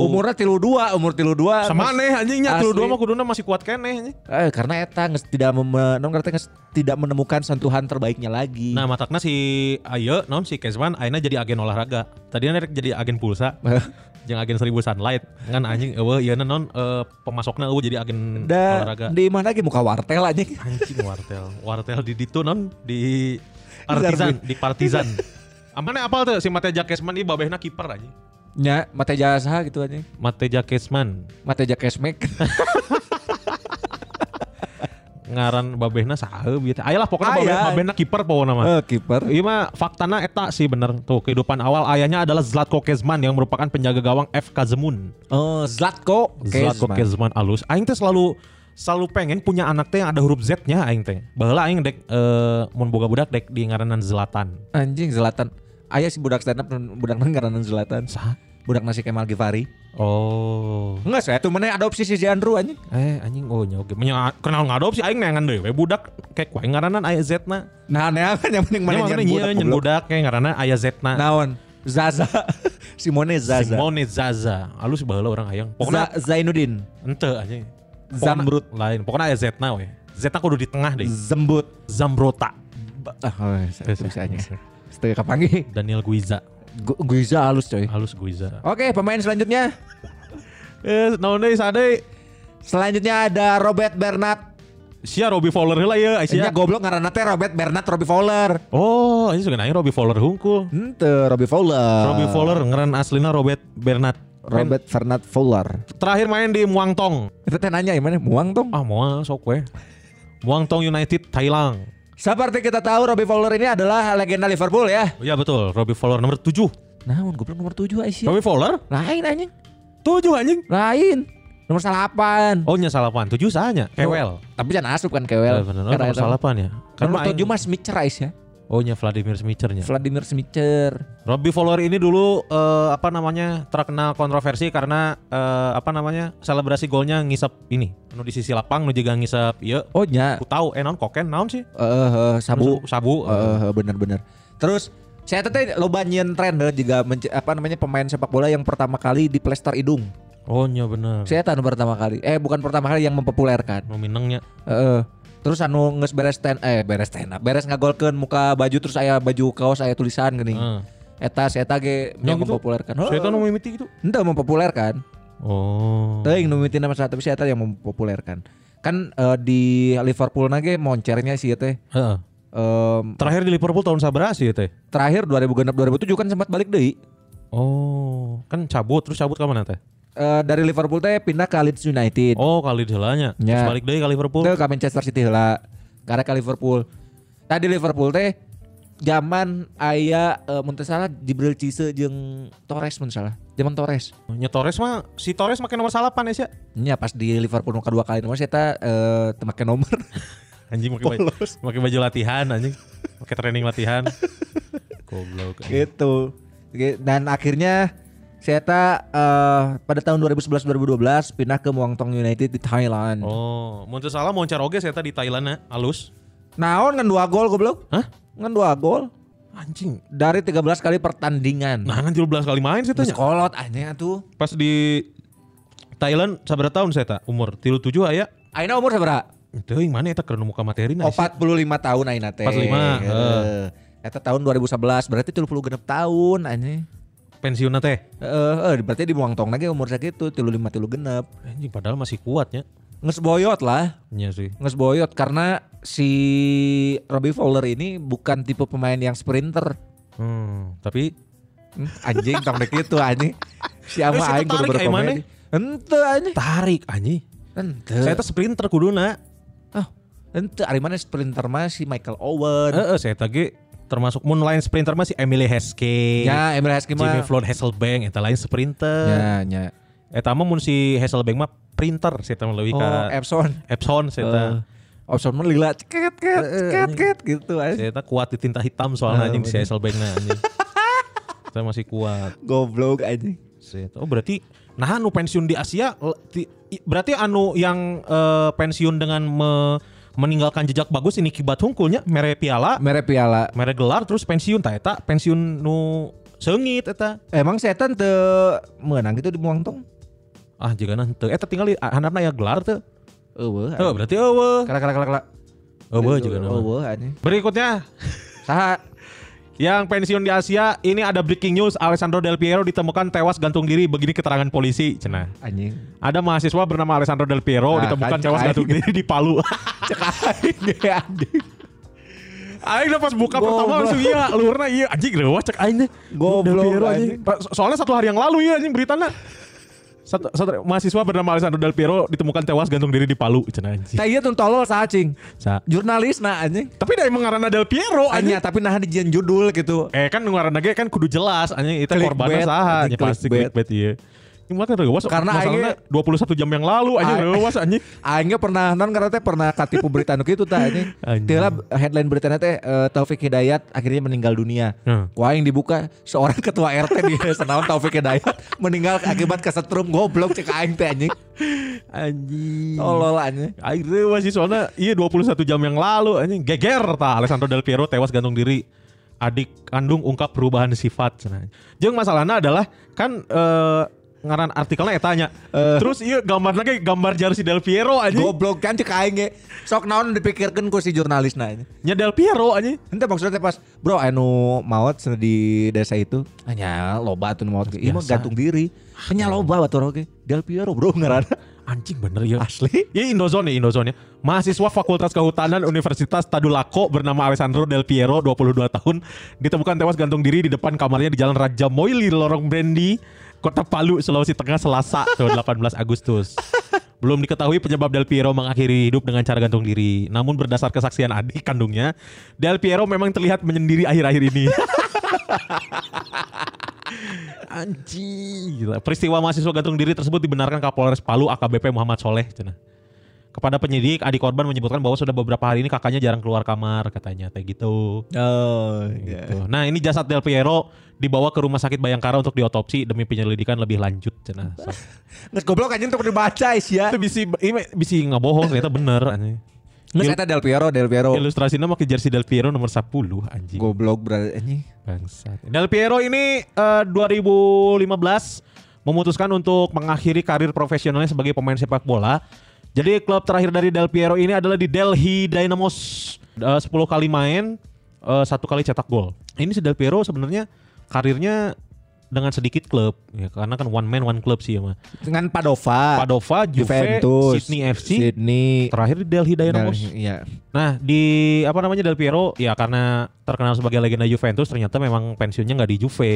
Umurnya tilu dua, umur tilu dua. sama Mas- aneh anjingnya tilu Asli. dua mah kuduna masih kuat keneh anjing. Eh, karena eta nges, tidak mem- non ngerti nges, tidak menemukan sentuhan terbaiknya lagi. Nah, matakna si Ayo naon si Kezman ayeuna jadi agen olahraga. Tadinya rek jadi agen pulsa. Jeung agen 1000 sunlight. Kan anjing eueuh ieu non eh, pemasokna eueuh jadi agen Da- olahraga. di mana lagi muka wartel anjing. Anjing wartel. Wartel di ditu non di Partizan, di Partizan. Amane apal tuh si Mateja Kesman ini babehna kiper anjing. Nya, mata jasa gitu anjing. Mateja Kesman Mata kesmek. ngaran babehna saha bieu teh. Ayalah pokoknya Aya. babehna, babehna kiper pokona mah. Eh, kiper. Iya mah faktana eta sih bener tuh kehidupan awal ayahnya adalah Zlatko Kezman yang merupakan penjaga gawang FK Zemun. Oh, Zlatko. Zlatko Kesman. Kezman alus. Aing teh selalu selalu pengen punya anak teh yang ada huruf Z-nya aing teh. Baheula aing dek eh mun boga budak dek di ngaranan Zlatan. Anjing Zlatan. Aya si budak stand up budak nang ngaranna Zlatan. Sah. Budak nasi Kemal Givari. Oh. Enggak saya tuh mana adopsi si Andrew anjing. Eh anjing oh nya oge. Menya kenal ngadopsi aing neangan deui we budak kayak kuaing ngaranan aya Z-na. Nah, nea kan yang penting mana Nya nyian makanya iya, nyen goblok. budak kayak ngaranan aya Z-na. Naon? Zaza. Simone Zaza. Simone Zaza. Alus baheula orang hayang. Pokoknya Za- Zainuddin. Ente anjing. Pokokna- Zambrut. Lain. Pokoknya ada ya. Zetna we. Zetna kudu di tengah deh. Zembut. Zambrota. Ah, oh, saya Terus, bisa aja. terus. Setengah kapangi. Daniel Guiza. Gu- Guiza halus coy. Halus Guiza. Oke, pemain selanjutnya. Eh, naon deui sade? Selanjutnya ada Robert Bernat. Sia Robbie Fowler heula ya, Ini ai sia. Iya, goblok ngaranna teh Robert Bernat Robbie Fowler. Oh, ini suka nanya Robbie Fowler hungkul. Henteu Robbie Fowler. Robbie Fowler kan? ngeren aslinya Robert Bernat. Ah. Robert Bernat Fowler. Terakhir main di Muang Thong. Itu teh nanya yang mana? Muang tong. Ah, moal sok we. Muang Thong United Thailand. Seperti kita tahu Robbie Fowler ini adalah legenda Liverpool ya. Ya betul, Robbie Fowler nomor 7. Naon goblok nomor 7 Aisyah. Robbie Fowler? Lain anjing. 7 anjing. Lain. Nomor 8. Oh, nya salapan. 7 sahanya. Iya. Kewel. Tapi jangan asup kan Kewel. Eh, bener. Oh, nomor salapan ya. Kan Nomor main- 7 mas Smicer Aisyah. Oh, nya Vladimir Smicernya. Vladimir Smicer. Robby Fowler ini dulu eh, apa namanya terkenal kontroversi karena eh, apa namanya selebrasi golnya ngisap ini nu di sisi lapang nu juga ngisap iya Oh nya, aku tahu eh naon koken naon sih eh, eh, sabu, sabu Eh, eh, bener-bener. Terus saya teteh loba nyieun tren deh juga mence- apa namanya pemain sepak bola yang pertama kali di plester hidung. oh nya bener Saya tahu Hmm. pertama kali, eh bukan pertama kali yang mempopulerkan. nu minengnya Eh, eh. terus anu nges beres stand, eh beres stand up, beres ngagolkeun muka baju terus aya baju kaos aya tulisan gini. Heeh. eta si eta ge Nya yang gitu? mempopulerkan. Saya itu Hmm. nu mimiti gitu. Ente mempopulerkan. Oh. Teuing nu mimiti nama satu tapi si eta yang mempopulerkan. Kan eh, di Liverpool nage moncernya si eh, teh Heeh. em, Terakhir di Liverpool tahun sabaraha sih ya teh? terakhir 2006 2007 kan sempat balik deui. Oh, kan cabut terus cabut ke mana teh? Eh, dari Liverpool teh pindah ke Leeds United. Oh, kali di helanya. Terus Nya. balik deui ke Liverpool. Itu ke Manchester City lah. Karena ke Liverpool. Tadi Liverpool teh zaman aya uh, mun teu salah Jibril Cisse jeung Torres mun salah. Zaman Torres. Nya Torres mah si Torres make nomor salapan ya sih. Nya pas di Liverpool nu kedua kali nomor eta eh teu make nomor. Anjing pakai baju, pakai baju latihan anjing. Pakai training latihan. Goblok. anjing. gitu. Oke, Dan akhirnya saya eh pada tahun 2011-2012 pindah ke Muang Thong United di Thailand. Oh, mun teu salah moncer oge saya di Thailand ya, alus. Naon ngan dua gol goblok? Hah? Ngan dua gol Anjing. dari 13 kali pertandingan. Nah, kan 17 kali main saya tanya. Sekolot aja tuh. Pas di Thailand sabaraha tahun saya tak umur 37 aya. Aina umur seberapa? Teuing mana eta keur nu muka materi nah, Oh, 45 tahun ayeuna teh. 45, Heeh. Eta tahun 2011 berarti 36 tahun anjing. pensiunna teh. Heeh, eh, berarti di Muang Tong lagi umur sakitu 35 tilu genep. Anjing padahal masih kuatnya. Nges boyot lah, Iya sih. nges boyot karena si Robbie Fowler ini bukan tipe pemain yang sprinter. Hmm, tapi Hmm, Anjing tong dek itu anjing. Si ama Eh, si aing kudu tertarik, aing berkomedi. Henteu anjing. tarik anjing. Henteu. Saya teh sprinter kuduna. Ah, henteu ari mana sprinter mah si Michael Owen. Heeh, Eh, saya teh ge termasuk mun lain sprinter mah si Emily Heskey. Ya, Emil Heskey Jimmy mah. Floyd Hasselbank eta lain sprinter. Ya, ya. Eta mah mun si Hasselbank mah printer saya teh mah leuwih Oh, ka Epson. Oh. Epson saya teh. Option Eh, mah lila Eh, ceket ket ceket ket gitu aja. Saya teh kuat di tinta hitam Ah, soalnya anjing si Hasselbank anjing. Saya masih kuat. Goblok aja. Set. Oh berarti nah anu pensiun di Asia l- ti- i- berarti anu yang eh, pensiun dengan me- meninggalkan jejak bagus ini kibat hungkulnya mere piala, Mere piala. mere gelar terus pensiun ta eta pensiun nu seungit eta. Emang setan teu menang gitu di Muang Tong? Ah jigana henteu eta tinggal handapna ya gelar teu. Eueuh. Oh berarti Oh, eueuh. Kala kala kala kala. Oh, Eueuh jigana. Eueuh anjing. Berikutnya Saha? yang pensiun di Asia ini ada breaking news Alessandro Del Piero ditemukan tewas gantung diri begini keterangan polisi cenah. Anjing. Ada mahasiswa bernama Alessandro Del Piero Ah, ditemukan kan, tewas cai. gantung diri di Palu. Cek aing deh anjing. Aing udah pas buka Goblok. pertama langsung iya, luarnya iya anjing rewa cek aing deh. Goblok, Del Piero anjing. anjing. Pa- so- Soalnya satu hari yang lalu ya anjing beritanya. Satu, satu- mahasiswa bernama Alessandro Del Piero ditemukan tewas gantung diri di Palu cenah anjing. Tah ieu tong tolol saha cing? Sa- Jurnalis na anjing. Tapi dari mengarana Del Piero anjing. Anya tapi nahan di jian judul gitu. Eh kan mengarana ge kan kudu jelas anjing itu Clickbait, korbannya saha anjing, ya pasti clickbait. clickbait iya. Ini mah kan rewas Karena masalahnya 21 jam yang lalu anjing Aing- rewas anjing. Aingnya pernah non karena teh pernah katipu berita nu kitu tah anjing. Anjing. Teulah headline beritanya teh eh, Taufik Hidayat akhirnya meninggal dunia. Hmm. Wah yang dibuka seorang ketua RT di Senawan Taufik Hidayat meninggal akibat kesetrum goblok cek aing teh anjing. Anjing. Tolol anjing. Aing rewas sih soalnya iya 21 jam yang lalu anjing geger ta Alessandro Del Piero tewas gantung diri adik kandung ungkap perubahan sifat cenah. Jeung masalahna adalah kan eh, ngaran artikelnya etanya. Eh. Terus iya gambarna ge gambar jersey Del Piero anjing. Goblok kan cek aing ge. Sok naon dipikirkeun ku si jurnalis na anjing. Nya Del Piero anjing. Ente maksudnya teh pas bro anu maot sen- di desa itu hanya loba tuh maot ge. Ieu mah Biasa. gantung diri. Hanya loba batur oge. Del Piero bro ngaranna. Anjing bener ya Asli Iya Indozone ya Indozone ya Mahasiswa Fakultas Kehutanan Universitas Tadulako Bernama Alessandro Del Piero 22 tahun Ditemukan tewas gantung diri di depan kamarnya Di Jalan Raja Moili Lorong Brendi Kota Palu Sulawesi Tengah Selasa tuh, 18 Agustus Belum diketahui penyebab Del Piero mengakhiri hidup dengan cara gantung diri Namun berdasar kesaksian adik kandungnya Del Piero memang terlihat menyendiri akhir-akhir ini Anjing. Gila. Peristiwa mahasiswa gantung diri tersebut dibenarkan Kapolres Palu AKBP Muhammad Soleh. Cenah. Kepada penyidik, adik korban menyebutkan bahwa sudah beberapa hari ini kakaknya jarang keluar kamar, katanya kayak gitu. Oh, Gitu. Nah, ini jasad Del Piero dibawa ke rumah sakit Bayangkara untuk diotopsi demi penyelidikan lebih lanjut. Cenah. So, Nges goblok anjing untuk dibaca ya. sia. Itu bisi ini bisi ngebohong ternyata bener anjing. Nges eta Del Piero, Del Piero. Ilustrasinya pakai jersey Del Piero nomor 10 anjing. Goblok berarti anjing. Bangsat. Del Piero ini eh, 2015 memutuskan untuk mengakhiri karir profesionalnya sebagai pemain sepak bola. Jadi klub terakhir dari Del Piero ini adalah di Delhi Dynamos. Eh, 10 kali main, eh, satu kali cetak gol. Ini si Del Piero sebenarnya karirnya dengan sedikit klub ya, karena kan one man one club sih ya mah. Dengan Padova. Padova, Juve, Juventus, Sydney FC, Sydney. terakhir di Delhi Dynamos. Del- Iya. Nah di apa namanya Del Piero ya karena terkenal sebagai legenda Juventus ternyata memang pensiunnya nggak di Juve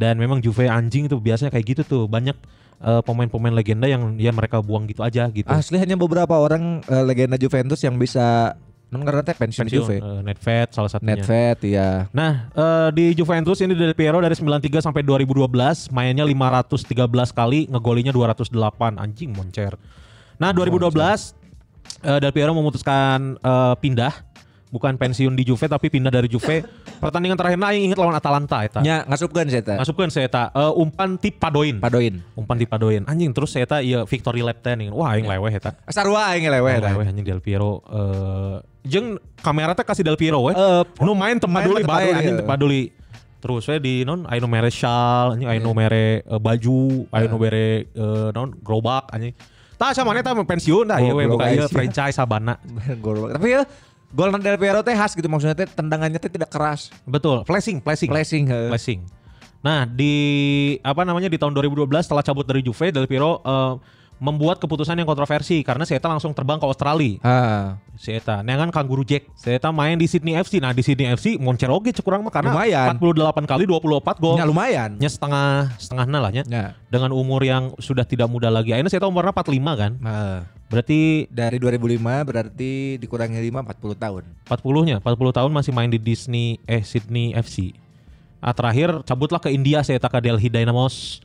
dan memang Juve anjing tuh biasanya kayak gitu tuh banyak eh, pemain-pemain legenda yang ya mereka buang gitu aja gitu. Asli hanya beberapa orang eh, legenda Juventus yang bisa Emang karena teh pensiun Juve. eh, Nedved salah satunya. Netfet ya. Nah, eh, di Juventus ini Del Piero dari 93 sampai 2012 mainnya 513 kali, ngegolinya 208. Anjing moncer. Nah, 2012 eh, Del Piero memutuskan eh, pindah bukan pensiun di Juve tapi pindah dari Juve. Pertandingan terakhir nah ingat lawan Atalanta eta. Nya ngasupkeun saya teh. Masukkan saya eta eh, umpan tip padoin. Padoin. Umpan tip padoin. Anjing terus saya eta ieu Victory lap teh nih. Wah, aing leweh eta. Sarua aing lewe Aing tah. Leweh anjing Del Piero. Eh, jeng kamera teh kasih Del Piero weh. Eh, Nu main tempat main dulu tempat bae dulu, anjing iya. tempat dulu. Terus saya di non ayo mere shawl, anjing Iya. ayo mere eh, baju, ayo mere eh, non gerobak anjing. Tah sama eta mah pensiun dah Oh, ieu we buka gerobak ieu isi. franchise Sabana. Gol. Tapi ya gol Del Piero teh khas gitu maksudnya teh tendangannya teh tidak keras. Betul, flashing, flashing. Flashing. heuh. Blessing. Nah, di apa namanya di tahun 2012 setelah cabut dari Juve, Del Piero eh, membuat keputusan yang kontroversi karena si Eta langsung terbang ke Australia. Ah, Si Eta, nah kan Kanguru Jack. Si Eta main di Sydney FC. Nah, di Sydney FC moncer oge cek kurang mah karena Lumayan. 48 kali 24 gol. nya lumayan. Nya setengah setengahnya lah nya. Ya. Dengan umur yang sudah tidak muda lagi. Akhirnya si Eta umurnya 45 kan. Nah, Berarti dari 2005 berarti dikurangi 5 40 tahun. 40-nya, 40 tahun masih main di Disney eh Sydney FC. Ah, terakhir cabutlah ke India saya ke Delhi Dynamos.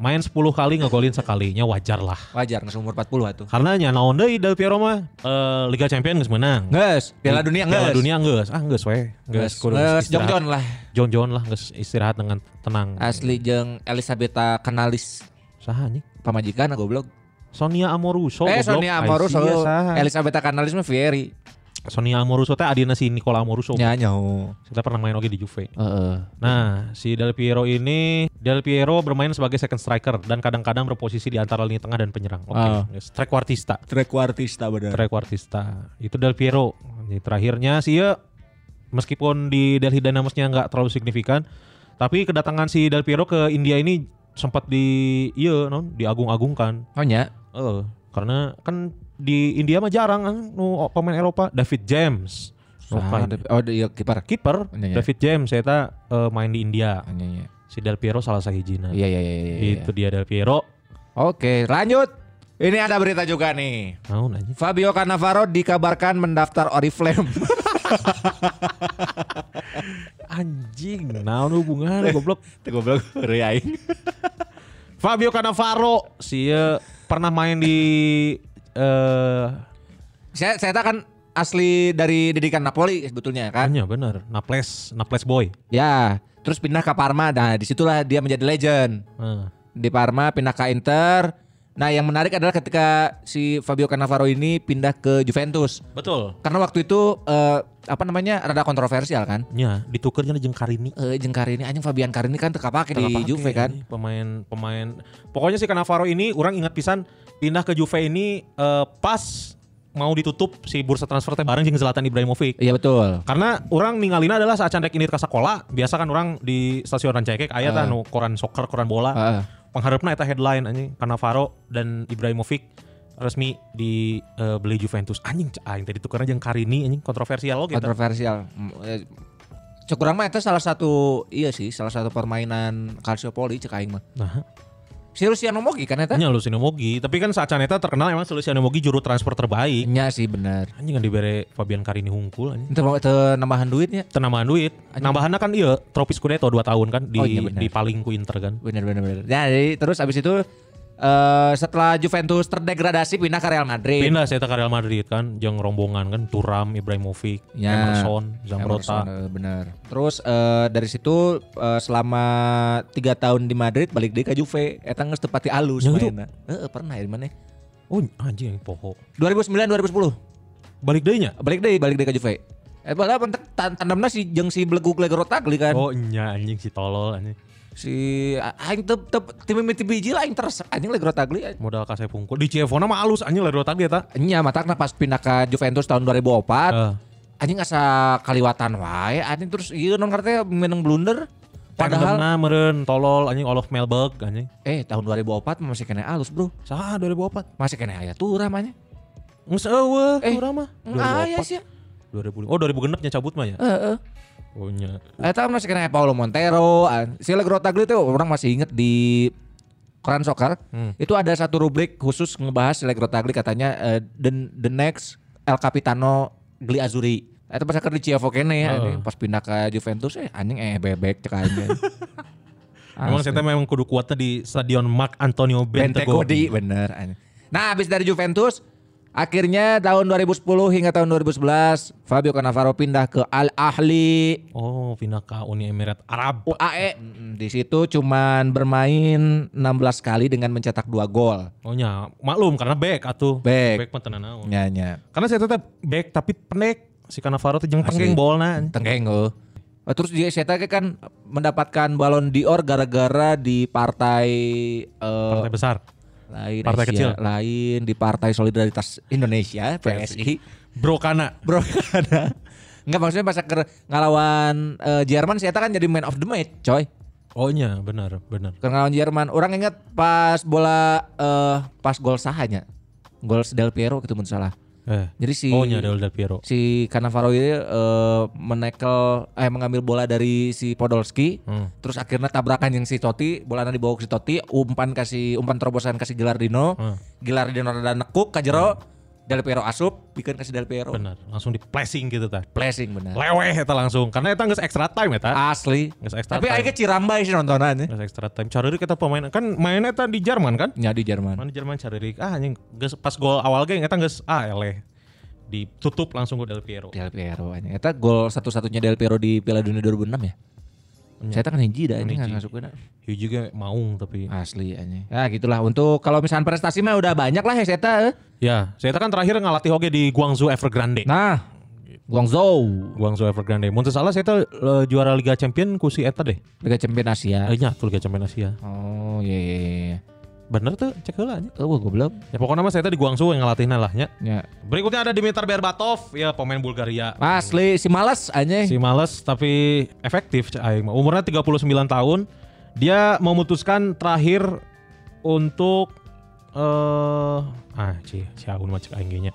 Main 10 kali ngegolin sekalinya wajar lah. Wajar nggak umur 40 atuh. Karena nya naon deui Del Piero mah eh, Liga Champions geus menang. Nges, Piala Dunia nges. Piala dunia geus. Ah geus we. nges. Geus kudu Nges, istirahat. jong-jong lah. Jon-jon lah geus istirahat dengan tenang. Asli jeung Elisabetta Canalis Saha anjing? pamajikan goblok. Sonia Amoruso. eh goblok. Sonia Amoruso, Ai, sia, saha. Elisabetta Canalis mah Fieri. Sonia Amoruso teh adina si Nicola Amoruso. Nya oh. nyau. Kita pernah main oge di Juve. Heeh. Nah, si Del Piero ini Del Piero bermain sebagai second striker dan kadang-kadang berposisi di antara lini tengah dan penyerang. Oke, Ah. ya, yes. trequartista. Trequartista bener. Trequartista. Itu Del Piero. Jadi terakhirnya sih ya meskipun di Delhi Dynamos-nya nggak terlalu signifikan, tapi kedatangan si Del Piero ke India ini sempat di iya non diagung-agungkan. Oh nya. Eh, karena kan di India mah jarang kan nu pemain Eropa David James. Oh, Suka ini. oh iya kiper. Kiper Iya, iya. David James saya eh, main di India. Iya iya. Si Del Piero salah sahijina. Iya iya iya. iya, iya. Itu dia Del Piero. Oke, lanjut. Ini ada berita juga nih. Mau nanya. Fabio Cannavaro dikabarkan mendaftar Oriflame. Anjing, naon hubungan goblok. Goblok reaing. Fabio Cannavaro Sia pernah main di eh Saya saya tak kan asli dari didikan Napoli sebetulnya kan. hanya bener, Naples, Naples boy. Ya, terus pindah ke Parma. Nah, disitulah dia menjadi legend. Nah, Di Parma pindah ke Inter. Nah, yang menarik adalah ketika si Fabio Cannavaro ini pindah ke Juventus. betul. Karena waktu itu eh, apa namanya? rada kontroversial kan. Ya, ditukernya jeung Karini. Eh jeung Karini anjing Fabian Karini kan teu kapake di Kenapa Juve pakai kan. ini Pemain pemain pokoknya si Cannavaro ini orang ingat pisan pindah ke Juve ini eh, pas mau ditutup si bursa transfer teh bareng jeung Zlatan Ibrahimovic. Iya betul. Karena orang ningalina adalah saat candek ini ke sekolah, biasa kan orang di stasiun Rancaikek aya Ah. tah nu koran soccer, koran bola. Heeh. pengharapna eta headline anjing Cannavaro dan Ibrahimovic resmi dibeli Juventus anjing c- aing tadi tukarna jeung Karini anjing kontroversial oge eta. kontroversial. Mm, eh, Cek kurang mah itu salah satu iya sih, salah satu permainan Calciopoli cek aing mah. nah Si Luciano Moggi kan eta? nya Luciano Moggi tapi kan saat eta terkenal emang si Luciano Moggi juru transfer terbaik Nya Iya sih bener. anjing kan dibere Fabian Karini hungkul anjing Itu mau teu nambahan ya? duitnya. tenambahan duit nambahanna kan iya trofi Scudetto 2 tahun kan di Oh, iya benar. di paling ku Inter kan Bener bener bener. Nah, jadi terus abis itu eh, setelah Juventus terdegradasi pindah ke Real Madrid. pindah saya ke Real Madrid kan jeung rombongan kan Turam Ibrahimovic Ya. Emerson Emerson, Zamrota eh, bener. Terus eh, dari situ eh, selama tiga tahun di Madrid balik deui ke Juve. Eta geus teu pati alus Yang itu? mainna. Heeh, pernah ya di mana? oh anjing yang poho 2009 2010. balik deui nya balik deh balik deh ke Juve eh padahal pentek tan- tandemna si jeung si belegu glegor tagli kan oh nya anjing si tolol anjing si a- aing teu teu tim mimiti biji lah aing terus anjing glegor tagli modal kasih pungkul di Cevona mah alus anjing lah dua tadi ya tak nya matakna pas pindah ke Juventus tahun 2004 Eh. iya, anjing asa kaliwatan wae anjing terus ieu non karena teh menang blunder Padahal- Padahal nah, meren tolol anjing Olof Melberg anjing. Eh tahun 2004 mah masih kena alus bro Sah 2004. Masih kena ayah tuh ramanya Nges eueuh Eh, urang mah. Ayah 2004. sih Eh. 2000. Oh 2000 genepnya cabut mah ya. Heeh. Oh nya. Eh tahun masih kena Paulo Montero an- Sila Grotagli tuh orang masih inget di Koran Soccer Hmm. Itu ada satu rubrik khusus ngebahas Sila Grotagli katanya eh, the, the next El Capitano Gli Azuri Itu pas ke di Chievo kene ya ini. Heeh. Pas pindah ke Juventus eh anjing eh bebek cek aja Emang saya memang kudu kuatnya di Stadion Mark Antonio Bentegodi. Bentegodi bener. anjing. Nah habis dari Juventus akhirnya tahun 2010 hingga tahun 2011 Fabio Cannavaro pindah ke Al Ahli Oh, pindah ke Uni Emirat Arab. UAE. Di situ cuman bermain 16 kali dengan mencetak 2 gol. Oh nya, maklum karena back atuh. Back. Iya. Back mah tenan naon. Nyanya. Karena saya tetap back tapi pendek si Cannavaro tuh jeung Asli. tengkeng bolna. anjing. Tenggeng loh. oh. Terus dia saya tanya kan mendapatkan balon dior gara-gara di partai, eh, Partai besar. lain partai Asia, kecil. lain di Partai Solidaritas Indonesia PSI. Bro Kana. Bro ada. Enggak maksudnya pas ker ngelawan eh, Jerman saya kan jadi man of the match, coy. Oh nya, benar, benar. Ker ngelawan Jerman. Orang ingat pas bola eh, pas gol sahanya. Gol Del Piero gitu mun salah. Eh. Jadi si Oh nya Del Del Piero. si Cannavaro ini eh, menekel eh mengambil bola dari si Podolski. Hmm. Terus akhirnya tabrakan yang si Totti, bolanya dibawa ke si Totti, umpan kasih umpan terobosan kasih Gilardino. Hmm. Gilardino rada nekuk ka jero. Del Piero asup, bikin kasih Del Piero. Benar, langsung di placing gitu tah. Blessing bener. Leweh eta langsung karena eta geus extra time eta. Asli. Geus Ah. extra Tapi time. akhirnya Cirambai sih ya. nontonannya. Geus extra time. Careuri kita pemain kan mainnya eta di Jerman kan? Ya di Jerman. Mana Jerman careuri ah anjing geus pas gol awal geng eta geus ah eleh. Ditutup langsung ku Del Piero. Del Piero anjing. Eta gol satu-satunya Del Piero di Piala Dunia 2006 ya. Iya. Saya kan hiji dah ini Hiji. nggak masukin Hieu juga maung tapi. asli anjing. Ya gitulah untuk kalau misalkan prestasi mah udah banyak lah ya Seta. eh. Ya, saya kan terakhir ngelatih hoge di Guangzhou Evergrande. Nah, Guangzhou Guangzhou Evergrande. Mun teu salah saya teh eh, juara Liga Champion ku si eta deh. Liga Champion Asia. Eh nya tuh Liga Champion Asia. Oh iya iya iya. Bener tuh cek heula nya. Eh, wah goblok. Ya pokoknya mah saya teh di Guangzhou yang ngelatihna lah nya. Ya. Berikutnya ada Dimitar Berbatov, ya pemain Bulgaria. Asli si malas anjing. Si males tapi efektif cah aing mah. Umurnya 39 tahun. Dia memutuskan terakhir untuk eh ah cie cie aku mah cek aing ge nya.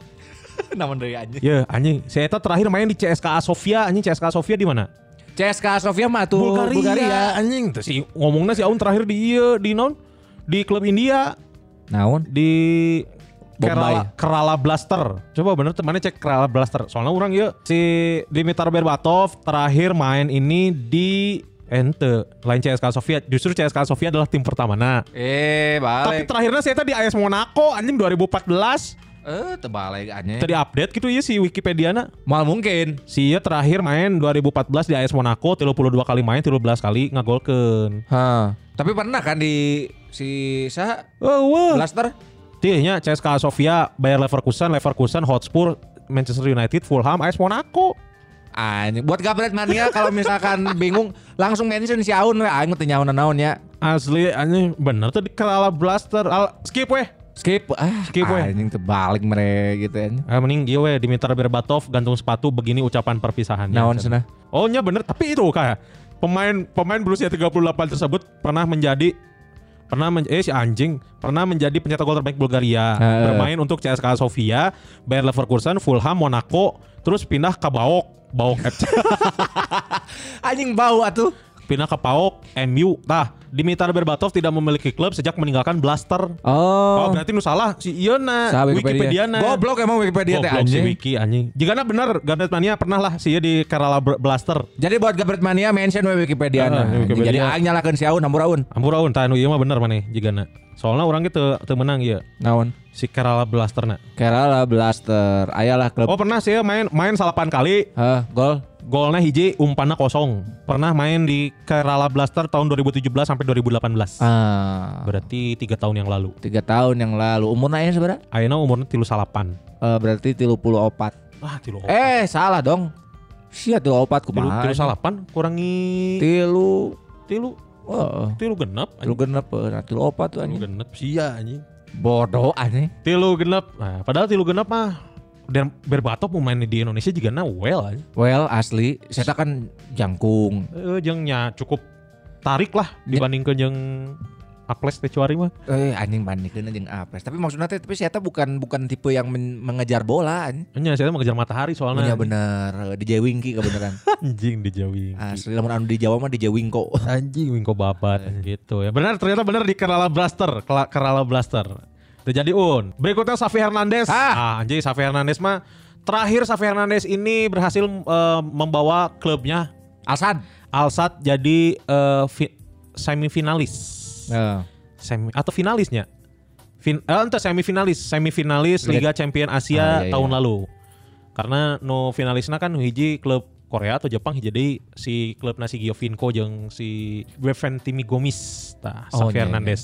Namun dari anjing. Ya anjing, saya eta terakhir main di CSKA Sofia. Anjing CSKA Sofia di mana? CSKA Sofia mah tuh Bulgaria, anjing. Tuh si ngomongnya si Aun terakhir di ieu di non di klub India Naon? di Kerala, Bombay. Kerala Blaster. Coba bener temannya cek Kerala Blaster. Soalnya orang ya si Dimitar Berbatov terakhir main ini di ente lain CSKA Sofia. Justru CSKA Sofia adalah tim pertama. Nah, Eh, tapi terakhirnya saya tadi AS Monaco anjing 2014. Eh, tebalik anjing. Tadi update gitu ya si Wikipedia na. Mal mungkin. Si ieu terakhir main 2014 di AS Monaco 32 kali main 13 kali ngagolkeun. Hah. Tapi pernah kan di si Saha Oh, wah. Iya, Blaster? Tihnya CSKA Sofia, Bayer Leverkusen, Leverkusen, Hotspur, Manchester United, Fulham, AS Monaco. Anjing, buat kabaret mania kalau misalkan bingung langsung mention si Aun we aing teu nyaon naon ya. Asli anjing bener tuh di Kerala Blaster. Al- skip weh. Skip ah Skip, we. anjing terbalik mere gitu ya. Ah, mending ieu weh Dimitar Berbatov gantung sepatu begini ucapan perpisahannya. Naon cenah? Oh nya bener, tapi itu kayak pemain pemain berusia 38 tersebut pernah menjadi pernah men eh si anjing pernah menjadi pencetak gol terbaik Bulgaria. Heeh. Bermain untuk CSKA Sofia, Bayer Leverkusen, Fulham, Monaco, terus pindah ke Baok, Baok eh, FC. Anjing bau atuh. pindah ke PAOK, MU. Nah, Dimitar Berbatov tidak memiliki klub sejak meninggalkan Blaster. Oh, Oh. berarti nu salah si Iona Saha Wikipedia na. Goblok emang Wikipedia teh si anjing. Wiki anjing. Jika benar Gambit Mania pernah lah si ieu di Kerala Br- Blaster. Jadi buat kabaret mania mention we Wikipedia Ah, na. Wikipedia. Jadi aing nyalakeun si Aun hampura Aun. Ampura un tah nu ieu mah bener maneh jigana. Soalnya orang gitu teu menang ieu Naon? si Kerala Blaster na. Kerala Blaster. Ayalah klub. Oh, pernah sih main main salapan kali. Hah, gol. Golnya hiji umpanna kosong. Pernah main di Kerala Blaster tahun 2017 sampai 2018. Ah. Berarti tiga tahun yang lalu. Tiga tahun yang lalu. Umurna aing seberapa? Ayeuna umurnya tilu salapan. Eh, berarti 34. Ah, tilu Eh salah dong. Sia tilu opat tilu, kumaha? tilu salapan kurangi Tilu. tilu Heeh. tilu genep Tilu anjing. genep, eh, nah, tilu opat tuh tilu anjing. genep sia Iya, anjing Bodoh anjing. tilu genep nah, padahal tilu genep mah dan berbatok mau main di Indonesia juga na well anjing. Well asli, saya kan jangkung. Eh, jeung nya cukup tarik lah dibanding ke yang Akles teh cuari mah. Eh anjing bandingkeun jeung Apres. Tapi maksudnya teh tapi saya bukan bukan tipe yang men- mengejar bola. anjing. Nya saya mah ngejar matahari soalnya. Iya bener, DJ Winky kebenaran. Anjing di Jawi. Asli lamun anu di Jawa mah DJ Winko. Anjing Winko babat Eh. gitu ya. Benar ternyata benar di Kerala Blaster, Kela- Kerala Blaster. Terjadi un. Berikutnya Safi Hernandez. Ah, anjing Safi Hernandez mah terakhir Safi Hernandez ini berhasil eh, membawa klubnya Alsan. Alsat jadi eh, fi- semifinalis. Heeh. Semi atau finalisnya? Fin eh, entah semifinalis, semifinalis Liga Champion Ah, Asia iya, iya. tahun lalu. Karena no finalisnya kan hiji klub Korea atau Jepang jadi si klub nasi Giovinco jeung si Bevan Timi Gomis tah Oh, Xavi iya, iya. Hernandez.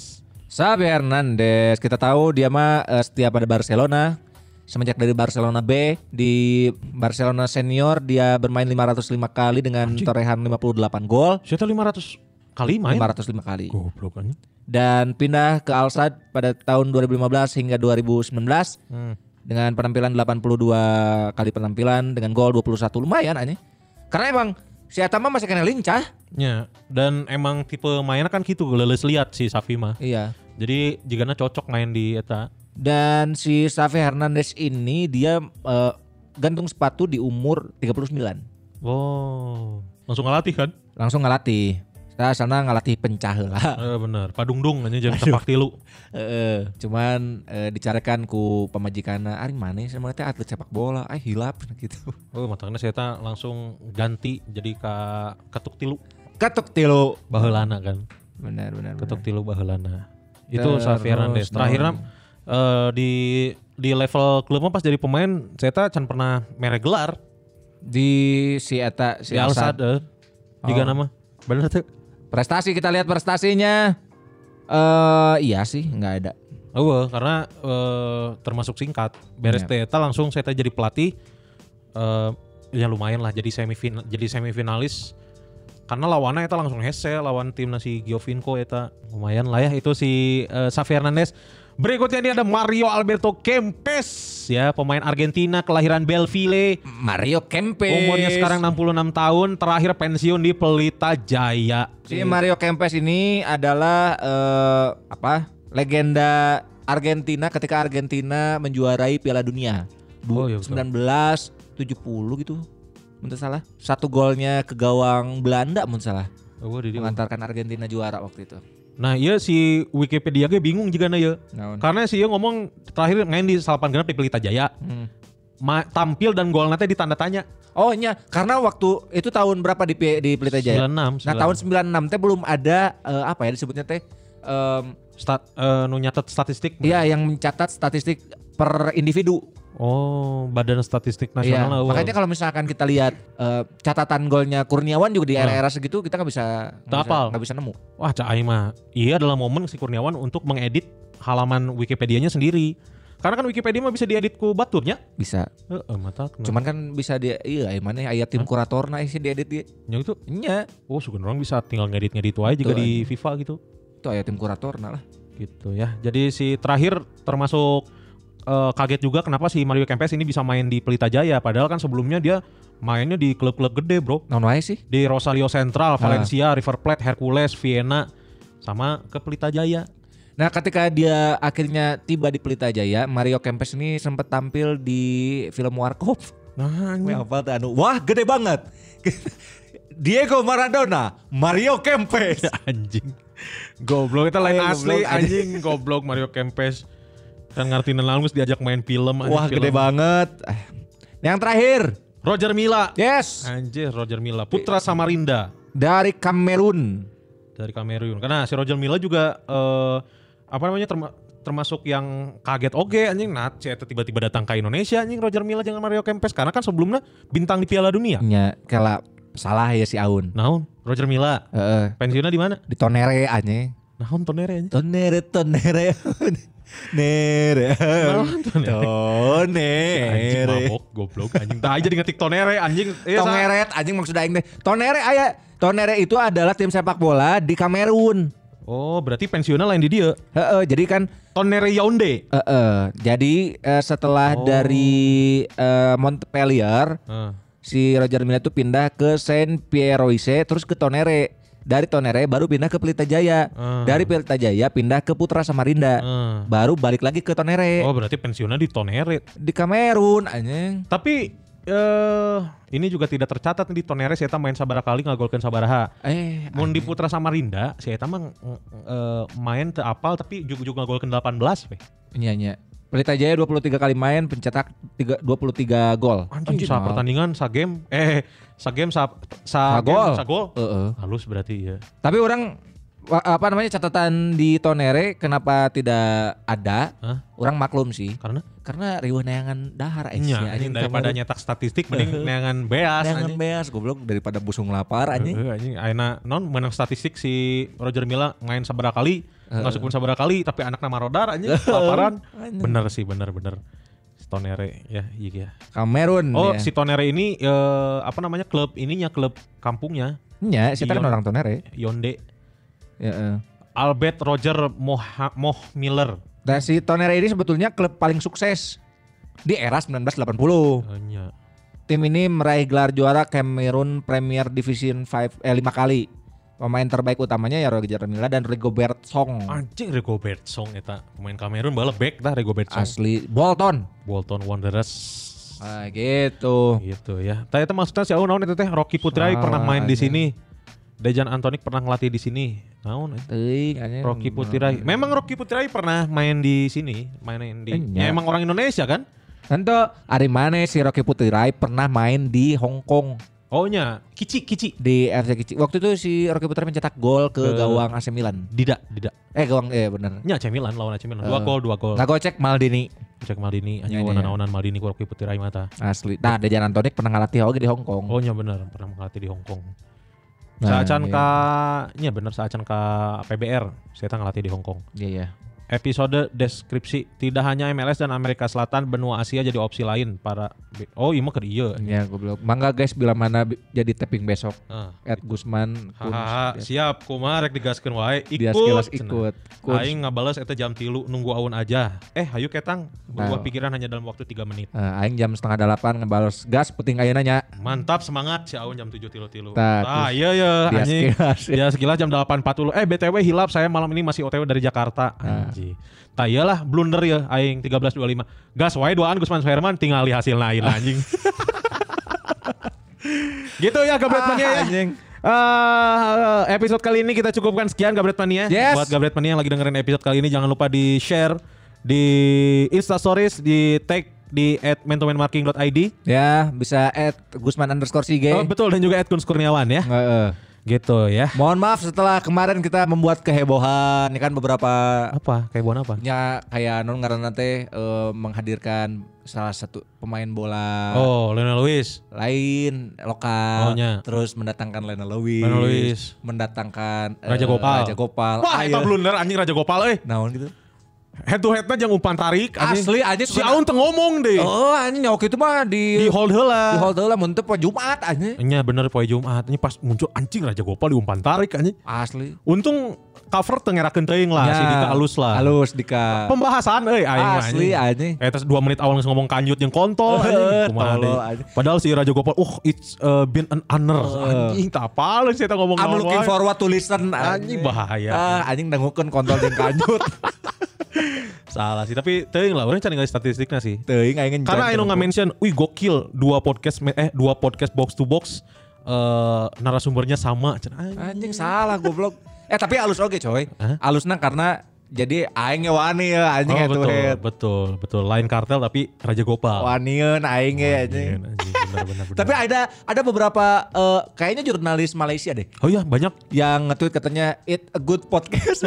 Xavi Hernandez kita tahu dia mah eh, setia pada Barcelona semenjak dari Barcelona B di Barcelona senior dia bermain 505 kali dengan torehan 58 gol Siapa 500 kali main? 505 kali Goblok anjing. dan pindah ke Al Sadd pada tahun 2015 hingga 2019 Hmm. dengan penampilan 82 kali penampilan dengan gol 21 lumayan aja karena emang si Atama masih kena lincah Ya, dan emang tipe mainnya kan gitu, leuleus liat si Safi mah. iya Jadi jigana cocok main di eta. dan si Xavi Hernandez ini dia eh, gantung sepatu di umur 39 Wow. Langsung ngelatih kan? langsung ngelatih saya sana ngelatih pencah lah Eh bener, padungdung aja jangan sepak tilu. cuman eh, dicarekan ku pemajikan ari mana sama teh atlet sepak bola ah hilap gitu Oh, matangnya saya langsung ganti jadi ke ketuk tilu ketuk tilu baheulana kan. benar benar Ketuk tilu baheulana. Itu Terus Xavi Hernandez. Terakhirnya eh, di di level klubnya pas jadi pemain saya can pernah merek gelar di si eta si di Al Alsat Sadd eh. Jika nama. Bener tuh. prestasi kita lihat prestasinya eh iya sih nggak ada Oh, karena eh, termasuk singkat. Beres Iya. teh eta langsung saya jadi pelatih eh ya lumayan lah jadi semifinal jadi semifinalis karena lawannya eta langsung hese lawan timnas si Giovinco eta lumayan lah ya itu si eh, Xavi Hernandez. Berikutnya ini ada Mario Alberto Kempes ya pemain Argentina kelahiran Belville Mario Kempes umurnya sekarang 66 tahun terakhir pensiun di Pelita Jaya. si Mario Kempes ini adalah eh, apa legenda Argentina ketika Argentina menjuarai Piala Dunia Oh, iya, betul. 1970 gitu menurut salah satu golnya ke gawang Belanda menurut salah Oh, di dieu. mengantarkan Argentina juara waktu itu Nah, iya si Wikipedia ge bingung jika ya. Naon. Karena sih ya ngomong terakhir main di salapan genap di Pelita Jaya. Ma- tampil dan gol nanti ditanda tanya. Hmm. oh iya karena waktu itu tahun berapa di P- di Pelita Jaya 96. nah tahun 96 teh belum ada eh, apa ya disebutnya teh em, Stat, eh, nu nyatet statistik. ya yang mencatat statistik per individu Oh, Badan Statistik Iya, Nasional. awal. makanya kalau misalkan kita lihat eh, catatan golnya Kurniawan juga di Nah. era-era segitu kita nggak bisa nggak Tak bisa- hafal. nggak bisa nemu. Wah, Cak Aing mah. Iya adalah momen si Kurniawan untuk mengedit halaman Wikipedianya sendiri. Karena kan Wikipedia mah bisa diedit ku baturnya. Bisa. Heeh, mata. Cuma Cuman kan bisa dia iya ay, mana aya tim kuratorna sih diedit dia. Iya, yang itu, Nya, oh sugan orang bisa tinggal ngedit-ngedit aja juga Betul, di FIFA gitu. itu aya tim kuratorna lah. gitu ya. Jadi si terakhir termasuk eh, kaget juga kenapa si Mario Kempes ini bisa main di Pelita Jaya padahal kan sebelumnya dia mainnya di klub-klub gede, Bro. Naon wae sih? Di Rosario Ah. Central, Valencia, River Plate, Hercules, Vienna sama ke Pelita Jaya. Nah, ketika dia akhirnya tiba di Pelita Jaya, Mario Kempes ini sempat tampil di film Warkop. Nah, Gue hafal teh anu, wah gede banget. Diego Maradona, Mario Kempes. anjing. Goblok itu lain Ayo, asli Eh, goblok. anjing goblok Mario Kempes. Kan ngerti langsung diajak main film anjing, wah film. gede banget. Eh, Yang terakhir, Roger Mila. yes. Anjir Roger Mila, putra Samarinda. dari Kamerun. dari Kamerun. Karena si Roger Milla juga eh, apa namanya terma- termasuk yang kaget oge anjing nah si eta tiba-tiba datang ke Indonesia anjing Roger Milla jangan Mario Kempes karena kan sebelumnya bintang di Piala Dunia. Ya, kala salah ya si Aun. Naon Roger Milla Heeh. pensiunnya di mana? di Tonere aja. Naon tonere anjing. Tonere, Tonere. Nere. Naon tonere? Anjing Tonere. mabok goblok anjing. Tah aja di ngetik tonere anjing. Iya, sa- Tongeret anjing maksud aing teh. Tonere aya. Tonere itu adalah tim sepak bola di Kamerun. Oh, berarti pensiunnya lain di dia. Heeh, jadi kan Tonere Yaounde. heeh. Jadi eh, setelah Oh. dari eh, Montpellier Heeh. si Roger Milla itu pindah ke Saint Pieroise terus ke Tonere dari Tonere baru pindah ke Pelita Jaya. Ah. Dari Pelita Jaya pindah ke Putra Samarinda. Ah. Baru balik lagi ke Tonere. Oh berarti pensiunnya di Tonere. Di Kamerun anjing. Tapi eh ini juga tidak tercatat nih di Tonere si Eta main sabaraha kali ngagolkeun sabaraha. Eh, Mun di Putra Samarinda si Eta mah mm, eh, main teu apal tapi juga-juga ngagolkeun 18 weh. nyanyi. Pelita Jaya 23 kali main pencetak tiga- 23 gol. Anjing sa mal. pertandingan sa game eh sa game sa Sa sa, game, gol. sa gol. Heeh. Halus berarti ya. Tapi orang wa- apa namanya catatan di Tonere kenapa tidak ada? Hah? Orang maklum sih. Karena Karena riweuh neangan dahar eh, nya sia, Iya, anjing anjing daripada Kamerun. nyetak statistik mending neangan beas neangan anjing. beas goblok daripada busung lapar anjing. Heeh, anjing ayeuna non menang statistik si Roger Milla main sabaraha kali, Eh. ngasupun sabaraha kali tapi anak nama Rodar anjing kelaparan. Anjing. bener sih, bener bener. Si Tonere ya, iya. iya. Kamerun ya. Oh, dia. si Tonere ini eh, apa namanya? klub ininya, klub kampungnya Nya, si kan Ion. orang Tonere. Yonde Ya, eh. Albert Roger Moha, Moh Miller. Dan si Tonere ini sebetulnya klub paling sukses di era 1980. Eh, nya. Tim ini meraih gelar juara Cameroon Premier Division 5 eh 5 kali. Pemain terbaik utamanya ya Roger Milla dan Rigobert Song. Anjing Rigobert Song eta pemain Kamerun bala back tah Rigobert Song. Asli Bolton. Bolton Wanderers. Ah, gitu. Gitu ya. Tah eta maksudnya si Aun naon itu teh Rocky Putra Salah pernah main di anjing. sini. Dejan Antonik pernah ngelatih di sini. Naon eh? Teuing anjing. Rocky Putirai. Memang Rocky Putirai pernah main di sini, main di. Eh, Ya, iya. emang orang Indonesia kan? Tentu ari mana si Rocky Putirai pernah main di Hong Kong Oh nya, Kici Kici. di FC Kici. Waktu itu si Rocky Putirai mencetak gol ke Ke- gawang AC Milan. Tidak, tidak. Eh gawang eh bener. Nya AC Milan lawan AC Milan. Dua Eh. gol, dua gol. Nggak gocek Maldini Cek Maldini, Iya, anjing iya. naonan Maldini ku Rocky Putirai mata. asli. Nah, Dejan Antonik pernah ngelatih oge di Hong Kong. Oh nya bener, pernah melatih di Hong Kong. Nah, Saacan iya. ka nya bener saacan ka PBR. Saya ngelatih di Hong Kong. Iya iya. Episode deskripsi tidak hanya MLS dan Amerika Selatan, benua Asia jadi opsi lain para Oh, iya mah keur ieu. Iya goblok. Mangga guys bila mana bi- jadi tapping besok. Ah. Ed Gusman kun Hahaha, siap kumaha rek digaskeun wae dia ikut. sekilas ikut. Kun. Aing ngabales eta jam tilu nunggu aun aja. Eh hayu ketang, berubah Nah. pikiran hanya dalam waktu 3 menit. Eh, aing jam setengah delapan ngebalas gas penting ayeuna nya. Mantap semangat si Aun jam 7 tilu tilu. Tah, Tah, Nah, terus iya iya dia anjing. sekilas. ya. Dia sekilas jam 8.40. Eh BTW hilap saya malam ini masih OTW dari Jakarta. Nah. Anjing. Tah iyalah blunder ya aing 13.25. Gas wae duaan Gusman Suherman tinggal di hasil lain anjing. gitu ya Gabret Ah, Mania ya. anjing. Eh, episode kali ini kita cukupkan sekian Gabret Mania. Yes. Buat Gabret Mania yang lagi dengerin episode kali ini jangan lupa di share di Insta Stories di tag di at mentomanmarking.id Ya, bisa add Gusman underscore Sige. Oh, betul dan juga Edkun Kurniawan ya. Heeh. Gitu ya. Mohon maaf setelah kemarin kita membuat kehebohan, ya kan beberapa Apa? Kayak buan apa? nya kayak non karena teh eh, menghadirkan salah satu pemain bola Oh, Lionel Lewis. lain lokal, Oh, nya. terus mendatangkan Lionel Lewis, Lionel Lewis. mendatangkan eh, Raja Gopal. Raja Gopal, Wah, Ayo. eta blunder anjing Raja Gopal euy. naon gitu. Head to headnya jangan umpan tarik Asli, anjing Si suka- Aun teu ngomong deh. Oh, anjing waktu itu mah di Di hold di heula. hall tuh lah, muntah po Jumat anjing. Nya bener poe Jumat. Ini pas muncul anjing Raja Gopal diumpan tarik anjing. Asli. Untung cover teu ngerakeun teuing lah, Ah, si Ya, Dika alus lah. Halus Dika. Pembahasan euy aing mah, Asli, anjing. Eh terus 2 menit awal langsung ngomong kanyut yang kontol Eh, anjing. Kumaha tolol, deui. anjing. Eh. Padahal si Raja Gopal, "Uh, it's uh, been an honor." Anjing, tak apal sih eta ngomong I'm naon looking wae. forward to listen Anjing, bahaya. Ah, anjing dengukeun kontol jeung kanyut. Salah sih, tapi teuing lah orang cari ngali statistiknya sih. Teuing aing Karena Aino nggak mention, wih gokil dua podcast me- eh dua podcast box to box eh narasumbernya sama. Cen, ay, Anjing salah goblok. Eh tapi alus oge coy. Hah? Alusna karena jadi aing ge wani ya anjing oh, head to betul, head. betul, betul. Lain kartel tapi Raja Gopal. Wanian aing ge anjing. Anjing, anjing, benar, benar, benar. Tapi ada ada beberapa eh, kayaknya jurnalis Malaysia deh oh iya banyak. yang nge-tweet katanya it a good podcast.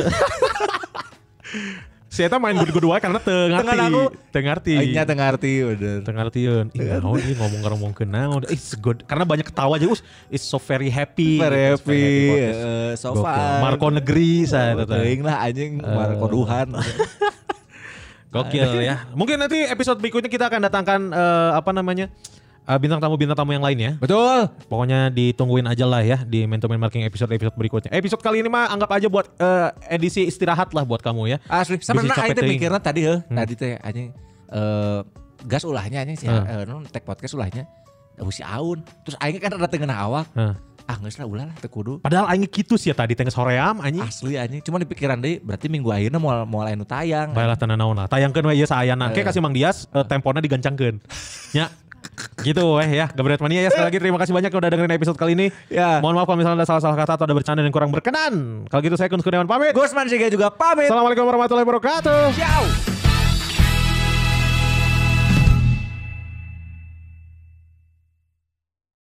Si Eta main good good wae karena teu ngerti. Tengan aku. Teu ngerti. Aingnya teu ngerti bener. Teu ngartieun. Ih, naon ieu ngomong ngomong kenal. It's good. Karena banyak ketawa aja, us. It's so very happy. Very It's happy, podcast. eh, so Gokil. fun. Marco Negeri saya Eh. teh. Teuing lah anjing Marco Duhan. Gokil ya. Mungkin nanti episode berikutnya kita akan datangkan eh, apa namanya? eh, bintang tamu-bintang tamu yang lain ya. Betul. Pokoknya ditungguin aja lah ya di Men to Men Marketing episode-episode berikutnya. Episode kali ini mah anggap aja buat eh, edisi istirahat lah buat kamu ya. Asli, sebenarnya capek aing teh teuing. mikirna tadi heuh, tadi teh anjing eh gas eh, ulahnya anjing sih, eh non tag podcast ulahnya. Oh si Aun. Terus aing kan ada tengah awal. Heeh. ah nggak lah ulah lah teu kudu Padahal aing gitu sih ya tadi tengah soream anjing. asli anjing cuma di pikiran deh berarti minggu akhirnya mau mau lain tayang Baiklah tanah naon lah. Tayangkeun we iya, ieu saayana. Eh. Oke kasih Mang Dias eh, temponya digancangkeun. ya. Gitu weh ya. Gabret Mania ya sekali lagi terima kasih banyak udah dengerin episode kali ini. Ya. Mohon maaf kalau misalnya ada salah-salah kata atau ada bercanda yang kurang berkenan. Kalau gitu saya Kun Kurniawan pamit. Gusman Siga juga pamit Assalamualaikum warahmatullahi wabarakatuh. ciao